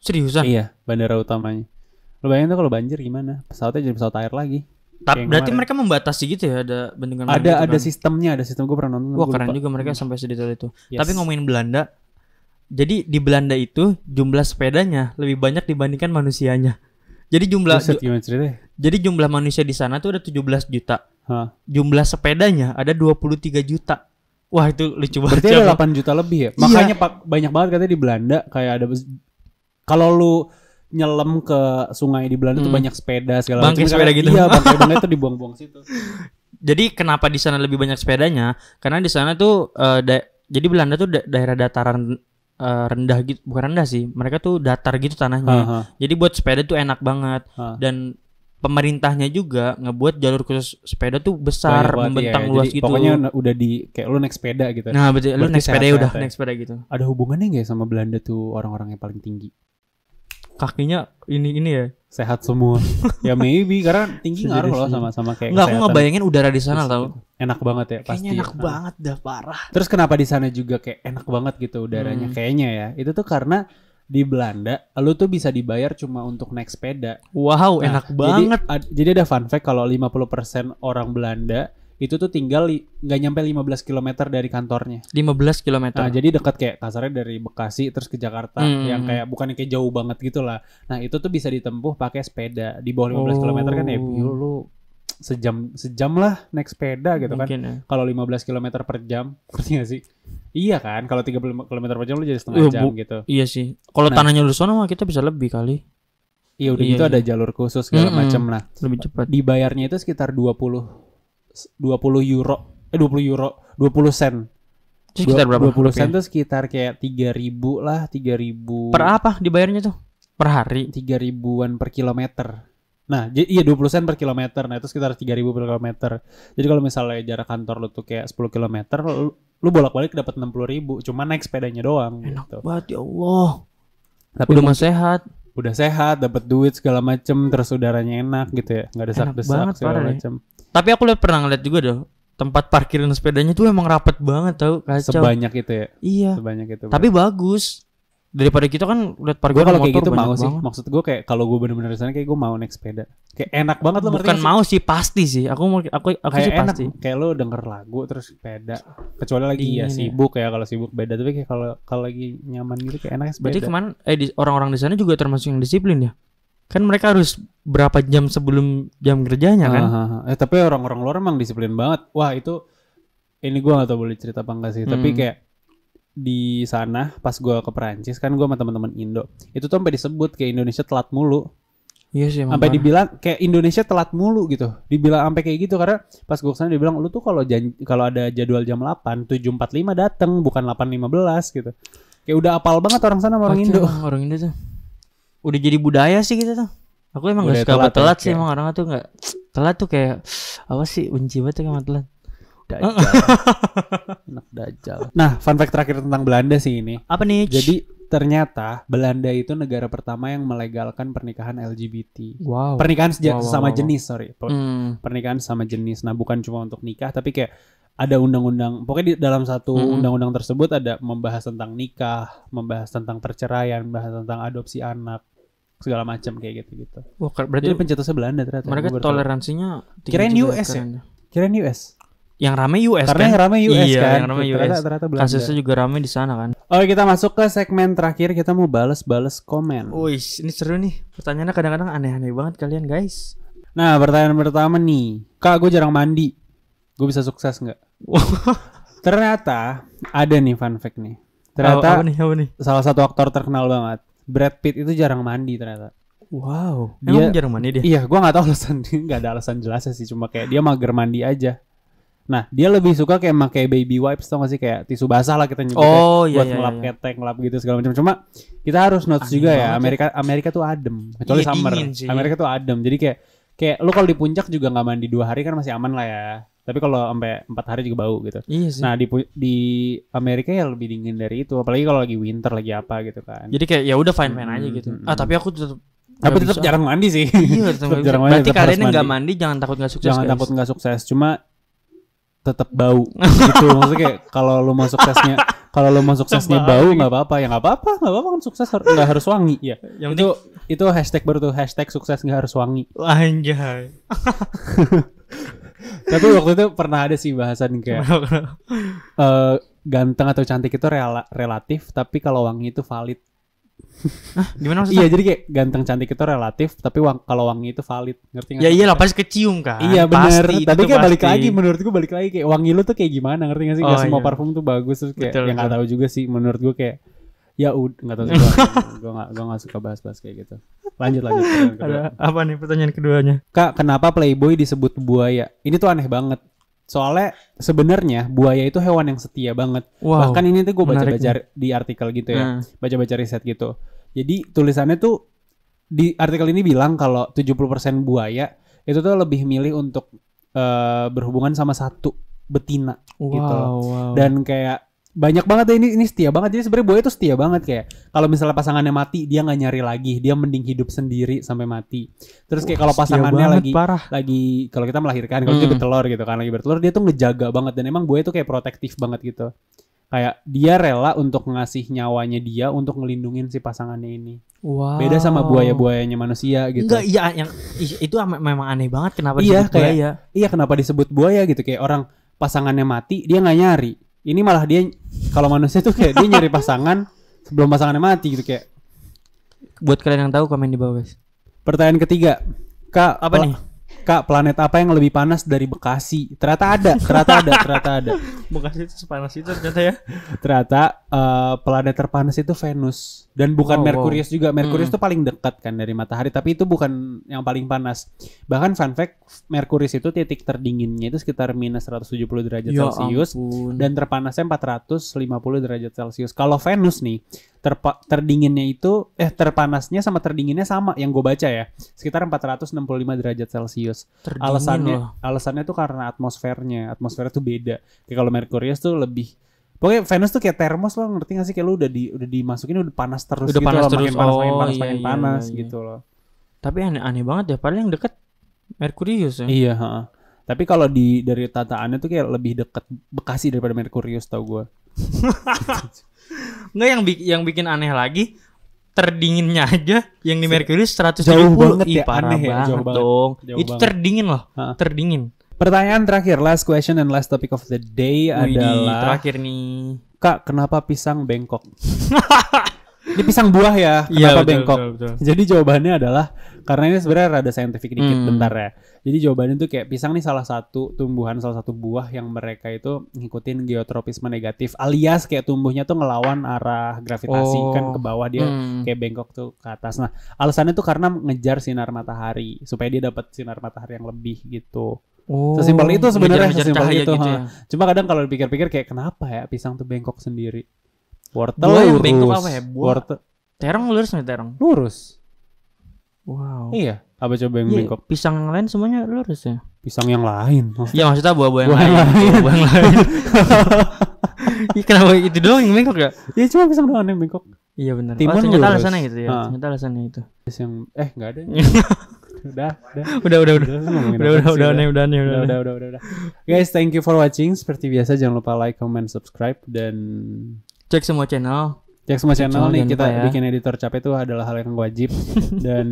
Speaker 2: seriusan.
Speaker 1: iya bandara utamanya lu bayangin tuh kalau banjir gimana pesawatnya jadi pesawat air lagi
Speaker 2: Tapi
Speaker 1: yang
Speaker 2: berarti
Speaker 1: kemarin.
Speaker 2: mereka membatasi gitu ya ada bendungan
Speaker 1: ada ada
Speaker 2: sih.
Speaker 1: sistemnya ada sistem gue pernah nonton
Speaker 2: kan. Wah,
Speaker 1: gua
Speaker 2: keren
Speaker 1: lupa. Hmm.
Speaker 2: juga mereka sampai sedetail itu.
Speaker 1: Yes.
Speaker 2: Tapi ngomongin Belanda, jadi di Belanda itu jumlah sepedanya lebih banyak dibandingkan manusianya. Jadi jumlah
Speaker 1: Buset,
Speaker 2: ju-
Speaker 1: gimana ceritanya
Speaker 2: jadi jumlah manusia di sana tuh ada 17 juta.
Speaker 1: Hah.
Speaker 2: Jumlah sepedanya ada 23 juta. Wah, itu lucu banget.
Speaker 1: berarti
Speaker 2: Cam.
Speaker 1: ada 8 juta lebih
Speaker 2: Iya.
Speaker 1: ya makanya pak banyak banget katanya di Belanda kayak ada kalau lu nyelam ke sungai di Belanda tuh
Speaker 2: Hmm.
Speaker 1: banyak sepeda segala
Speaker 2: Bangkai
Speaker 1: macam.
Speaker 2: sepeda
Speaker 1: Karena-
Speaker 2: gitu. Hmm.
Speaker 1: iya bangkai bangkai tuh dibuang-buang situ
Speaker 2: Jadi kenapa di sana lebih banyak sepedanya? Karena di sana tuh eh, da- jadi Belanda tuh da- daerah dataran eh, rendah gitu, bukan rendah sih. Mereka tuh datar gitu tanahnya.
Speaker 1: Aha.
Speaker 2: Jadi buat sepeda tuh enak banget
Speaker 1: Ah.
Speaker 2: dan pemerintahnya juga ngebuat jalur khusus sepeda tuh
Speaker 1: Banyak
Speaker 2: besar,
Speaker 1: banget,
Speaker 2: membentang
Speaker 1: iya.
Speaker 2: luas
Speaker 1: Jadi
Speaker 2: gitu.
Speaker 1: Pokoknya na- udah di kayak lu naik sepeda gitu.
Speaker 2: nah, betul. Lu
Speaker 1: Berarti
Speaker 2: naik sepeda
Speaker 1: sehat-sehat
Speaker 2: ya udah,
Speaker 1: ya.
Speaker 2: naik sepeda gitu.
Speaker 1: Ada hubungannya nggak ya sama Belanda tuh orang-orang yang paling tinggi?
Speaker 2: Kakinya ini ini ya.
Speaker 1: Sehat semua. ya maybe karena tinggi ngaruh loh
Speaker 2: Sejujurnya.
Speaker 1: sama sama kayak
Speaker 2: Enggak, aku
Speaker 1: kesehatan.
Speaker 2: ngebayangin udara di sana
Speaker 1: Terus
Speaker 2: tau.
Speaker 1: Enak banget ya pasti.
Speaker 2: Kayaknya enak
Speaker 1: Nah,
Speaker 2: banget dah parah.
Speaker 1: Terus kenapa di sana juga kayak enak banget gitu udaranya
Speaker 2: Hmm.
Speaker 1: kayaknya ya? Itu tuh karena di Belanda lu tuh bisa dibayar cuma untuk naik sepeda.
Speaker 2: Wow,
Speaker 1: Nah,
Speaker 2: enak banget.
Speaker 1: Jadi, ad- jadi ada fun fact kalau 50% orang Belanda itu tuh tinggal li- nggak nyampe 15 km dari kantornya.
Speaker 2: 15 km.
Speaker 1: Nah, jadi dekat kayak kasarnya dari Bekasi terus ke Jakarta
Speaker 2: Ah. Hmm.
Speaker 1: yang kayak bukan yang kayak jauh banget gitu lah. Nah, itu tuh bisa ditempuh pakai sepeda. Di bawah 15 km kan ya
Speaker 2: Oh.
Speaker 1: lu lu sejam sejam lah naik sepeda gitu kan.
Speaker 2: Mungkin ya.
Speaker 1: Kalau 15 km per jam, ngerti nggak sih? Iya kan, kalau 35 km per jam lu jadi setengah
Speaker 2: Iya,
Speaker 1: jam
Speaker 2: Bu.
Speaker 1: gitu.
Speaker 2: Iya sih. Kalau
Speaker 1: Nah.
Speaker 2: tanahnya udah sono mah kita bisa lebih kali,
Speaker 1: Iya, udah
Speaker 2: Iya,
Speaker 1: gitu
Speaker 2: iya.
Speaker 1: ada jalur khusus segala
Speaker 2: Mm-mm.
Speaker 1: macam lah.
Speaker 2: lebih cepat.
Speaker 1: Dibayarnya itu sekitar 20 20 euro, eh 20 euro, 20 sen.
Speaker 2: Terus sekitar berapa?
Speaker 1: 20 sen
Speaker 2: Rupiah?
Speaker 1: tuh sekitar kayak 3000 lah, 3000.
Speaker 2: Per apa dibayarnya tuh? Per hari.
Speaker 1: tiga ribuan per kilometer. Nah, j- iya 20 sen per kilometer. Nah, itu sekitar 3000 per kilometer. Jadi kalau misalnya jarak kantor lu tuh kayak 10 kilometer, lu, lu bolak-balik dapat 60 ribu. Cuma naik sepedanya doang gitu.
Speaker 2: Wah, ya Allah.
Speaker 1: Tapi
Speaker 2: udah
Speaker 1: mu-
Speaker 2: mah sehat.
Speaker 1: udah sehat, dapat duit segala macem, terus udaranya enak gitu ya, nggak desak-desak
Speaker 2: banget,
Speaker 1: segala
Speaker 2: parah deh.
Speaker 1: macem.
Speaker 2: Tapi aku lihat pernah ngeliat juga deh tempat parkiran sepedanya tuh emang rapat banget tau kacau.
Speaker 1: Sebanyak itu ya,
Speaker 2: Iya.
Speaker 1: sebanyak itu.
Speaker 2: Tapi bagus. Daripada kita kan lihat
Speaker 1: gue
Speaker 2: parkiran
Speaker 1: kalau
Speaker 2: motor
Speaker 1: kayak gitu
Speaker 2: banyak
Speaker 1: mau sih.
Speaker 2: banget.
Speaker 1: Maksud gue kayak kalau gue bener-bener di sana kayak gue mau naik sepeda. Kayak enak banget lo ngerti
Speaker 2: Bukan
Speaker 1: nggak sih?
Speaker 2: mau sih pasti sih. Aku mau aku aku
Speaker 1: kayak
Speaker 2: sih
Speaker 1: enak
Speaker 2: pasti.
Speaker 1: kayak lo denger lagu terus sepeda kecuali lagi
Speaker 2: Dingin
Speaker 1: ya
Speaker 2: ya.
Speaker 1: sibuk ya kalau sibuk beda tapi kayak kalau kalau lagi nyaman gitu kayak enaknya sepeda
Speaker 2: Berarti kemarin eh di- orang-orang di sana juga termasuk yang disiplin ya. Kan mereka harus berapa jam sebelum jam kerjanya kan?
Speaker 1: Ah, ah, ah. eh, tapi orang-orang luar emang disiplin banget wah itu ini gue gak tau boleh cerita apa enggak sih tapi
Speaker 2: Hmm.
Speaker 1: kayak di sana pas gue ke Perancis kan gue sama teman-teman Indo itu tuh sampai disebut kayak Indonesia telat mulu
Speaker 2: Iya sih emang.
Speaker 1: sampai
Speaker 2: parah.
Speaker 1: dibilang kayak Indonesia telat mulu gitu dibilang sampai kayak gitu karena pas gue kesana dibilang lu tuh kalau jan- kalau ada jadwal jam 8 7.45 dateng bukan 8.15 gitu kayak udah apal banget orang sana sama orang
Speaker 2: Kacau
Speaker 1: Indo
Speaker 2: emang orang Indo tuh. Udah jadi budaya sih kita tuh. Aku emang
Speaker 1: Budaya
Speaker 2: gak suka
Speaker 1: telat ya,
Speaker 2: telat, telat sih
Speaker 1: kayak-
Speaker 2: emang orang tuh gak telat tuh kayak apa sih benci banget tuh sama telat.
Speaker 1: Dajjal. Anak dajjal. Nah, fun fact terakhir tentang Belanda sih ini.
Speaker 2: Apa nih?
Speaker 1: Jadi ternyata Belanda itu negara pertama yang melegalkan pernikahan LGBT.
Speaker 2: wow.
Speaker 1: Pernikahan seja-
Speaker 2: Oh. Wow, wow,
Speaker 1: sesama
Speaker 2: wow, wow.
Speaker 1: jenis, sorry. Per-
Speaker 2: Hmm.
Speaker 1: Pernikahan sesama jenis. Nah, bukan cuma untuk nikah, tapi kayak ada undang-undang. Pokoknya di dalam satu
Speaker 2: Mm-mm.
Speaker 1: undang-undang tersebut ada membahas tentang nikah, membahas tentang perceraian, membahas tentang adopsi anak, segala macam kayak gitu-gitu.
Speaker 2: Wah, ker-
Speaker 1: Jadi
Speaker 2: berarti
Speaker 1: pencetusnya Belanda ternyata.
Speaker 2: mereka
Speaker 1: Gua baru tahu.
Speaker 2: toleransinya tinggi
Speaker 1: Kirain US
Speaker 2: juga,
Speaker 1: ya?
Speaker 2: keren.
Speaker 1: Kirain US.
Speaker 2: Yang rame US
Speaker 1: Karena yang
Speaker 2: kan?
Speaker 1: ramai US
Speaker 2: Iya,
Speaker 1: kan.
Speaker 2: yang ramai
Speaker 1: Ternyata-
Speaker 2: US.
Speaker 1: ternyata Belanda.
Speaker 2: Kasusnya juga rame di sana kan.
Speaker 1: Oke kita masuk ke segmen terakhir kita mau balas-balas komen.
Speaker 2: Wih, ini seru nih. Pertanyaannya kadang-kadang aneh-aneh banget kalian, guys.
Speaker 1: Nah pertanyaan pertama nih, kak gue jarang mandi, gue bisa sukses nggak? Ternyata ada nih fun fact nih. Ternyata
Speaker 2: apa nih? Apa nih?
Speaker 1: salah satu aktor terkenal banget, Brad Pitt itu jarang mandi ternyata.
Speaker 2: Wow.
Speaker 1: Dia-
Speaker 2: Emang jarang mandi dia.
Speaker 1: Iya, gue nggak tahu alasan, nggak ada alasan jelasnya sih, cuma kayak dia mager mandi aja. Nah dia lebih suka kayak pakai baby wipes tau gak sih kayak tisu basah lah kita nyebutnya
Speaker 2: Oh, iya,
Speaker 1: buat
Speaker 2: iya,
Speaker 1: ngelap
Speaker 2: iya.
Speaker 1: ketek ngelap gitu segala macam cuma kita harus notes
Speaker 2: Aneh
Speaker 1: juga
Speaker 2: banget
Speaker 1: ya
Speaker 2: ya.
Speaker 1: Amerika Amerika tuh adem kecuali
Speaker 2: Iya,
Speaker 1: summer
Speaker 2: dingin sih.
Speaker 1: Amerika tuh adem jadi kayak kayak lu kalau di puncak juga nggak mandi dua hari kan masih aman lah ya tapi kalau sampai empat hari juga bau gitu
Speaker 2: Iya sih.
Speaker 1: nah di pu- di Amerika ya lebih dingin dari itu apalagi kalau lagi winter lagi apa gitu kan
Speaker 2: Jadi kayak ya udah fine fine aja
Speaker 1: Hmm,
Speaker 2: gitu.
Speaker 1: hmm,
Speaker 2: Ah
Speaker 1: hmm.
Speaker 2: tapi aku tetap
Speaker 1: tapi
Speaker 2: nggak
Speaker 1: tetap
Speaker 2: bisa.
Speaker 1: jarang mandi sih
Speaker 2: Iya tetap nggak bisa.
Speaker 1: jarang mandi,
Speaker 2: Berarti
Speaker 1: tetap
Speaker 2: kalian
Speaker 1: harus
Speaker 2: yang nggak
Speaker 1: mandi.
Speaker 2: mandi jangan takut nggak sukses.
Speaker 1: jangan
Speaker 2: guys.
Speaker 1: takut nggak sukses cuma tetap bau gitu maksudnya kayak kalau lu mau suksesnya kalau lu mau suksesnya bau nggak apa-apa ya nggak apa-apa nggak apa-apa kan sukses har- nggak harus wangi ya
Speaker 2: Yang
Speaker 1: itu itu hashtag baru tuh hashtag sukses nggak harus wangi
Speaker 2: Anjay.
Speaker 1: tapi waktu itu pernah ada sih bahasan
Speaker 2: Iya.
Speaker 1: kayak eh, ganteng atau cantik itu rela- relatif tapi kalau wangi itu valid
Speaker 2: Gimana maksudnya?
Speaker 1: iya jadi kayak ganteng cantik itu relatif tapi wang- kalau wangi itu valid ngerti nggak
Speaker 2: Ya iyalah pasti kecium kan.
Speaker 1: Iya benar.
Speaker 2: Pasti, itu
Speaker 1: Tapi
Speaker 2: tuh
Speaker 1: kayak balik
Speaker 2: pasti.
Speaker 1: lagi menurut gue balik lagi kayak wangi lu tuh kayak gimana ngerti gak sih? Gak
Speaker 2: Oh,
Speaker 1: semua
Speaker 2: iya.
Speaker 1: parfum tuh bagus terus kayak
Speaker 2: Betul,
Speaker 1: yang gak
Speaker 2: betul.
Speaker 1: tahu juga sih menurut gue kayak ya udah nggak tahu sih gue gue gak, gue gak suka bahas-bahas kayak gitu. Lanjut lanjut. pertanyaan kedua.
Speaker 2: Ada apa nih pertanyaan keduanya?
Speaker 1: Kak, kenapa Playboy disebut buaya? Ini tuh aneh banget. Soalnya sebenarnya buaya itu hewan yang setia banget.
Speaker 2: Wow. Nah.
Speaker 1: Bahkan ini tuh gue
Speaker 2: menarik
Speaker 1: baca-baca di artikel gitu ya
Speaker 2: Nah,
Speaker 1: baca-baca riset gitu. Jadi tulisannya tuh di artikel ini bilang kalau 70% buaya itu tuh lebih milih untuk eh, berhubungan sama satu betina
Speaker 2: wow,
Speaker 1: gitu.
Speaker 2: wow.
Speaker 1: dan kayak banyak banget ya ini ini setia banget. Jadi sebenarnya buaya itu setia banget kayak kalau misalnya pasangannya mati dia nggak nyari lagi, dia mending hidup sendiri sampai mati. Terus kayak kalau
Speaker 2: Setia
Speaker 1: pasangannya
Speaker 2: Iya banget,
Speaker 1: lagi
Speaker 2: parah.
Speaker 1: lagi kalau kita melahirkan kalau kita
Speaker 2: Hmm.
Speaker 1: bertelur gitu kan lagi bertelur dia tuh ngejaga banget dan emang buaya tuh kayak protektif banget gitu kayak dia rela untuk ngasih nyawanya dia untuk ngelindungin si pasangannya ini
Speaker 2: Wow.
Speaker 1: beda sama buaya-buayanya manusia gitu
Speaker 2: Oh. Enggak, iya yang ih, itu ama- memang aneh banget kenapa
Speaker 1: Iya,
Speaker 2: disebut
Speaker 1: kayak-
Speaker 2: buaya.
Speaker 1: iya kenapa disebut buaya gitu kayak orang pasangannya mati dia nggak nyari ini malah dia kalau manusia tuh kayak dia nyari pasangan sebelum pasangannya mati gitu kayak
Speaker 2: Buat kalian yang tahu komen di bawah, guys.
Speaker 1: pertanyaan ketiga kak
Speaker 2: Apa
Speaker 1: pla-
Speaker 2: nih?
Speaker 1: kak planet apa yang lebih panas dari Bekasi ternyata ada ternyata ada ternyata ada
Speaker 2: Bekasi itu sepanas itu ternyata ya.
Speaker 1: ternyata eh, planet terpanas itu Venus dan bukan
Speaker 2: Oh, Wow,
Speaker 1: Merkurius juga. Merkurius
Speaker 2: Hmm.
Speaker 1: itu paling dekat kan dari matahari, tapi itu bukan yang paling panas. Bahkan fun fact, Merkurius itu titik terdinginnya itu sekitar minus 170 derajat Celcius
Speaker 2: Ya ampun.
Speaker 1: dan terpanasnya 450 derajat Celcius. Kalau Venus nih, terpa- terdinginnya itu eh terpanasnya sama terdinginnya sama yang gue baca ya, sekitar 465 derajat Celcius
Speaker 2: Terdingin
Speaker 1: alasannya
Speaker 2: loh.
Speaker 1: alasannya tuh karena atmosfernya atmosfernya tuh beda kayak kalau Merkurius tuh lebih Pokoknya Venus tuh kayak termos loh, ngerti gak sih kayak lu udah di udah dimasukin udah panas terus
Speaker 2: Udah
Speaker 1: gitu
Speaker 2: panas
Speaker 1: loh,
Speaker 2: terus.
Speaker 1: makin panas, makin
Speaker 2: Oh,
Speaker 1: panas,
Speaker 2: iya,
Speaker 1: makin
Speaker 2: iya,
Speaker 1: panas
Speaker 2: iya.
Speaker 1: gitu loh.
Speaker 2: Tapi aneh-aneh banget ya. Padahal yang deket Merkurius ya.
Speaker 1: Iya, heeh. Tapi kalau di dari tataannya tuh kayak lebih deket Bekasi daripada Merkurius tau gue.
Speaker 2: Enggak yang bi- yang bikin aneh lagi terdinginnya aja yang di Merkurius 170.
Speaker 1: Jauh banget
Speaker 2: Ih,
Speaker 1: ya,
Speaker 2: parah
Speaker 1: aneh ya,
Speaker 2: banget
Speaker 1: jauh banget.
Speaker 2: dong.
Speaker 1: Jauh
Speaker 2: Itu
Speaker 1: banget.
Speaker 2: terdingin loh,
Speaker 1: Ha.
Speaker 2: terdingin.
Speaker 1: Pertanyaan terakhir, last question and last topic of the day
Speaker 2: Widih,
Speaker 1: adalah
Speaker 2: terakhir nih.
Speaker 1: Kak, kenapa pisang bengkok? ini pisang buah ya, kenapa
Speaker 2: Iya, betul,
Speaker 1: bengkok?
Speaker 2: betul, betul.
Speaker 1: Jadi jawabannya adalah karena ini sebenarnya rada scientific dikit
Speaker 2: Hmm.
Speaker 1: bentar ya. Jadi jawabannya tuh kayak pisang nih salah satu tumbuhan salah satu buah yang mereka itu ngikutin geotropisme negatif alias kayak tumbuhnya tuh ngelawan arah gravitasi
Speaker 2: Oh.
Speaker 1: kan ke bawah dia
Speaker 2: Hmm.
Speaker 1: kayak bengkok tuh ke atas. Nah, alasannya tuh karena ngejar sinar matahari supaya dia dapat sinar matahari yang lebih gitu.
Speaker 2: Oh,
Speaker 1: Sesimpel itu sebenarnya,
Speaker 2: ngejar-ngejar
Speaker 1: sesimpel
Speaker 2: cahaya
Speaker 1: itu,
Speaker 2: gitu
Speaker 1: ha.
Speaker 2: ya.
Speaker 1: Cuma kadang kalau dipikir-pikir kayak kenapa ya pisang tuh bengkok sendiri? Wortel
Speaker 2: Buah yang
Speaker 1: lurus.
Speaker 2: bengkok apa ya? Buah.
Speaker 1: Wortel
Speaker 2: Terong lurus nggak terong?
Speaker 1: lurus.
Speaker 2: Wow.
Speaker 1: Iya. Apa coba yang
Speaker 2: Iya,
Speaker 1: bengkok?
Speaker 2: pisang yang lain semuanya lurus ya?
Speaker 1: Pisang yang lain.
Speaker 2: Ya maksudnya buah-buah yang
Speaker 1: Buah
Speaker 2: lain.
Speaker 1: yang Iya, lain.
Speaker 2: Buah yang lain. Iya, Kenapa itu doang yang bengkok ya?
Speaker 1: Ya cuma pisang doang yang bengkok.
Speaker 2: Iya benar. Oh,
Speaker 1: Timun Ah.
Speaker 2: ternyata
Speaker 1: lurus.
Speaker 2: alasannya gitu ya.
Speaker 1: Ha.
Speaker 2: Ternyata alasannya itu.
Speaker 1: Terus yang eh nggak ada. udah, udah.
Speaker 2: Udah udah udah.
Speaker 1: Udah, ngomongin
Speaker 2: Udah udah
Speaker 1: apa sih,
Speaker 2: udah aneh udah aneh
Speaker 1: udah,
Speaker 2: udah.
Speaker 1: udah,
Speaker 2: aneh.
Speaker 1: udah, udah, udah. Guys, thank you for watching. Seperti biasa jangan lupa like, comment, subscribe dan
Speaker 2: Cek semua channel.
Speaker 1: Cek semua channel
Speaker 2: Jangan
Speaker 1: nih
Speaker 2: lupa
Speaker 1: kita
Speaker 2: ya.
Speaker 1: bikin editor capek itu adalah hal yang wajib dan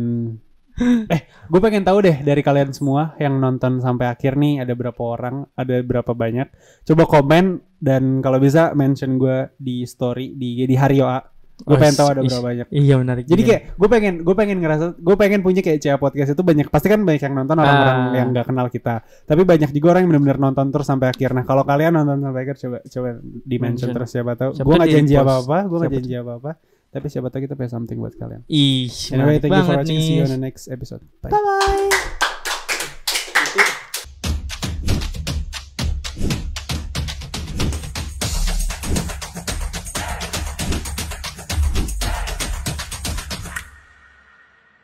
Speaker 1: eh gue pengen tahu deh dari kalian semua yang nonton sampai akhir nih ada berapa orang ada berapa banyak coba komen dan kalau bisa mention gue di story di di Hario A gue
Speaker 2: Oh,
Speaker 1: pengen tahu ada
Speaker 2: is-
Speaker 1: berapa banyak
Speaker 2: Iya menarik.
Speaker 1: jadi
Speaker 2: juga.
Speaker 1: kayak gue pengen gue pengen ngerasa gue pengen punya kayak CA podcast itu banyak pasti kan banyak yang nonton orang-orang
Speaker 2: Ah.
Speaker 1: yang nggak kenal kita tapi banyak juga orang yang benar-benar nonton terus sampai akhir nah kalau kalian nonton sampai akhir coba coba di mention
Speaker 2: Mention.
Speaker 1: terus siapa tahu
Speaker 2: Siapa
Speaker 1: gue
Speaker 2: tahu
Speaker 1: nggak
Speaker 2: di
Speaker 1: janji
Speaker 2: repost.
Speaker 1: apa apa gue nggak
Speaker 2: Siapa
Speaker 1: janji apa apa tapi siapa tahu kita punya something buat kalian
Speaker 2: ih
Speaker 1: anyway
Speaker 2: menarik
Speaker 1: thank you for
Speaker 2: banget
Speaker 1: watching see you
Speaker 2: nih.
Speaker 1: on the next episode bye
Speaker 2: Bye bye.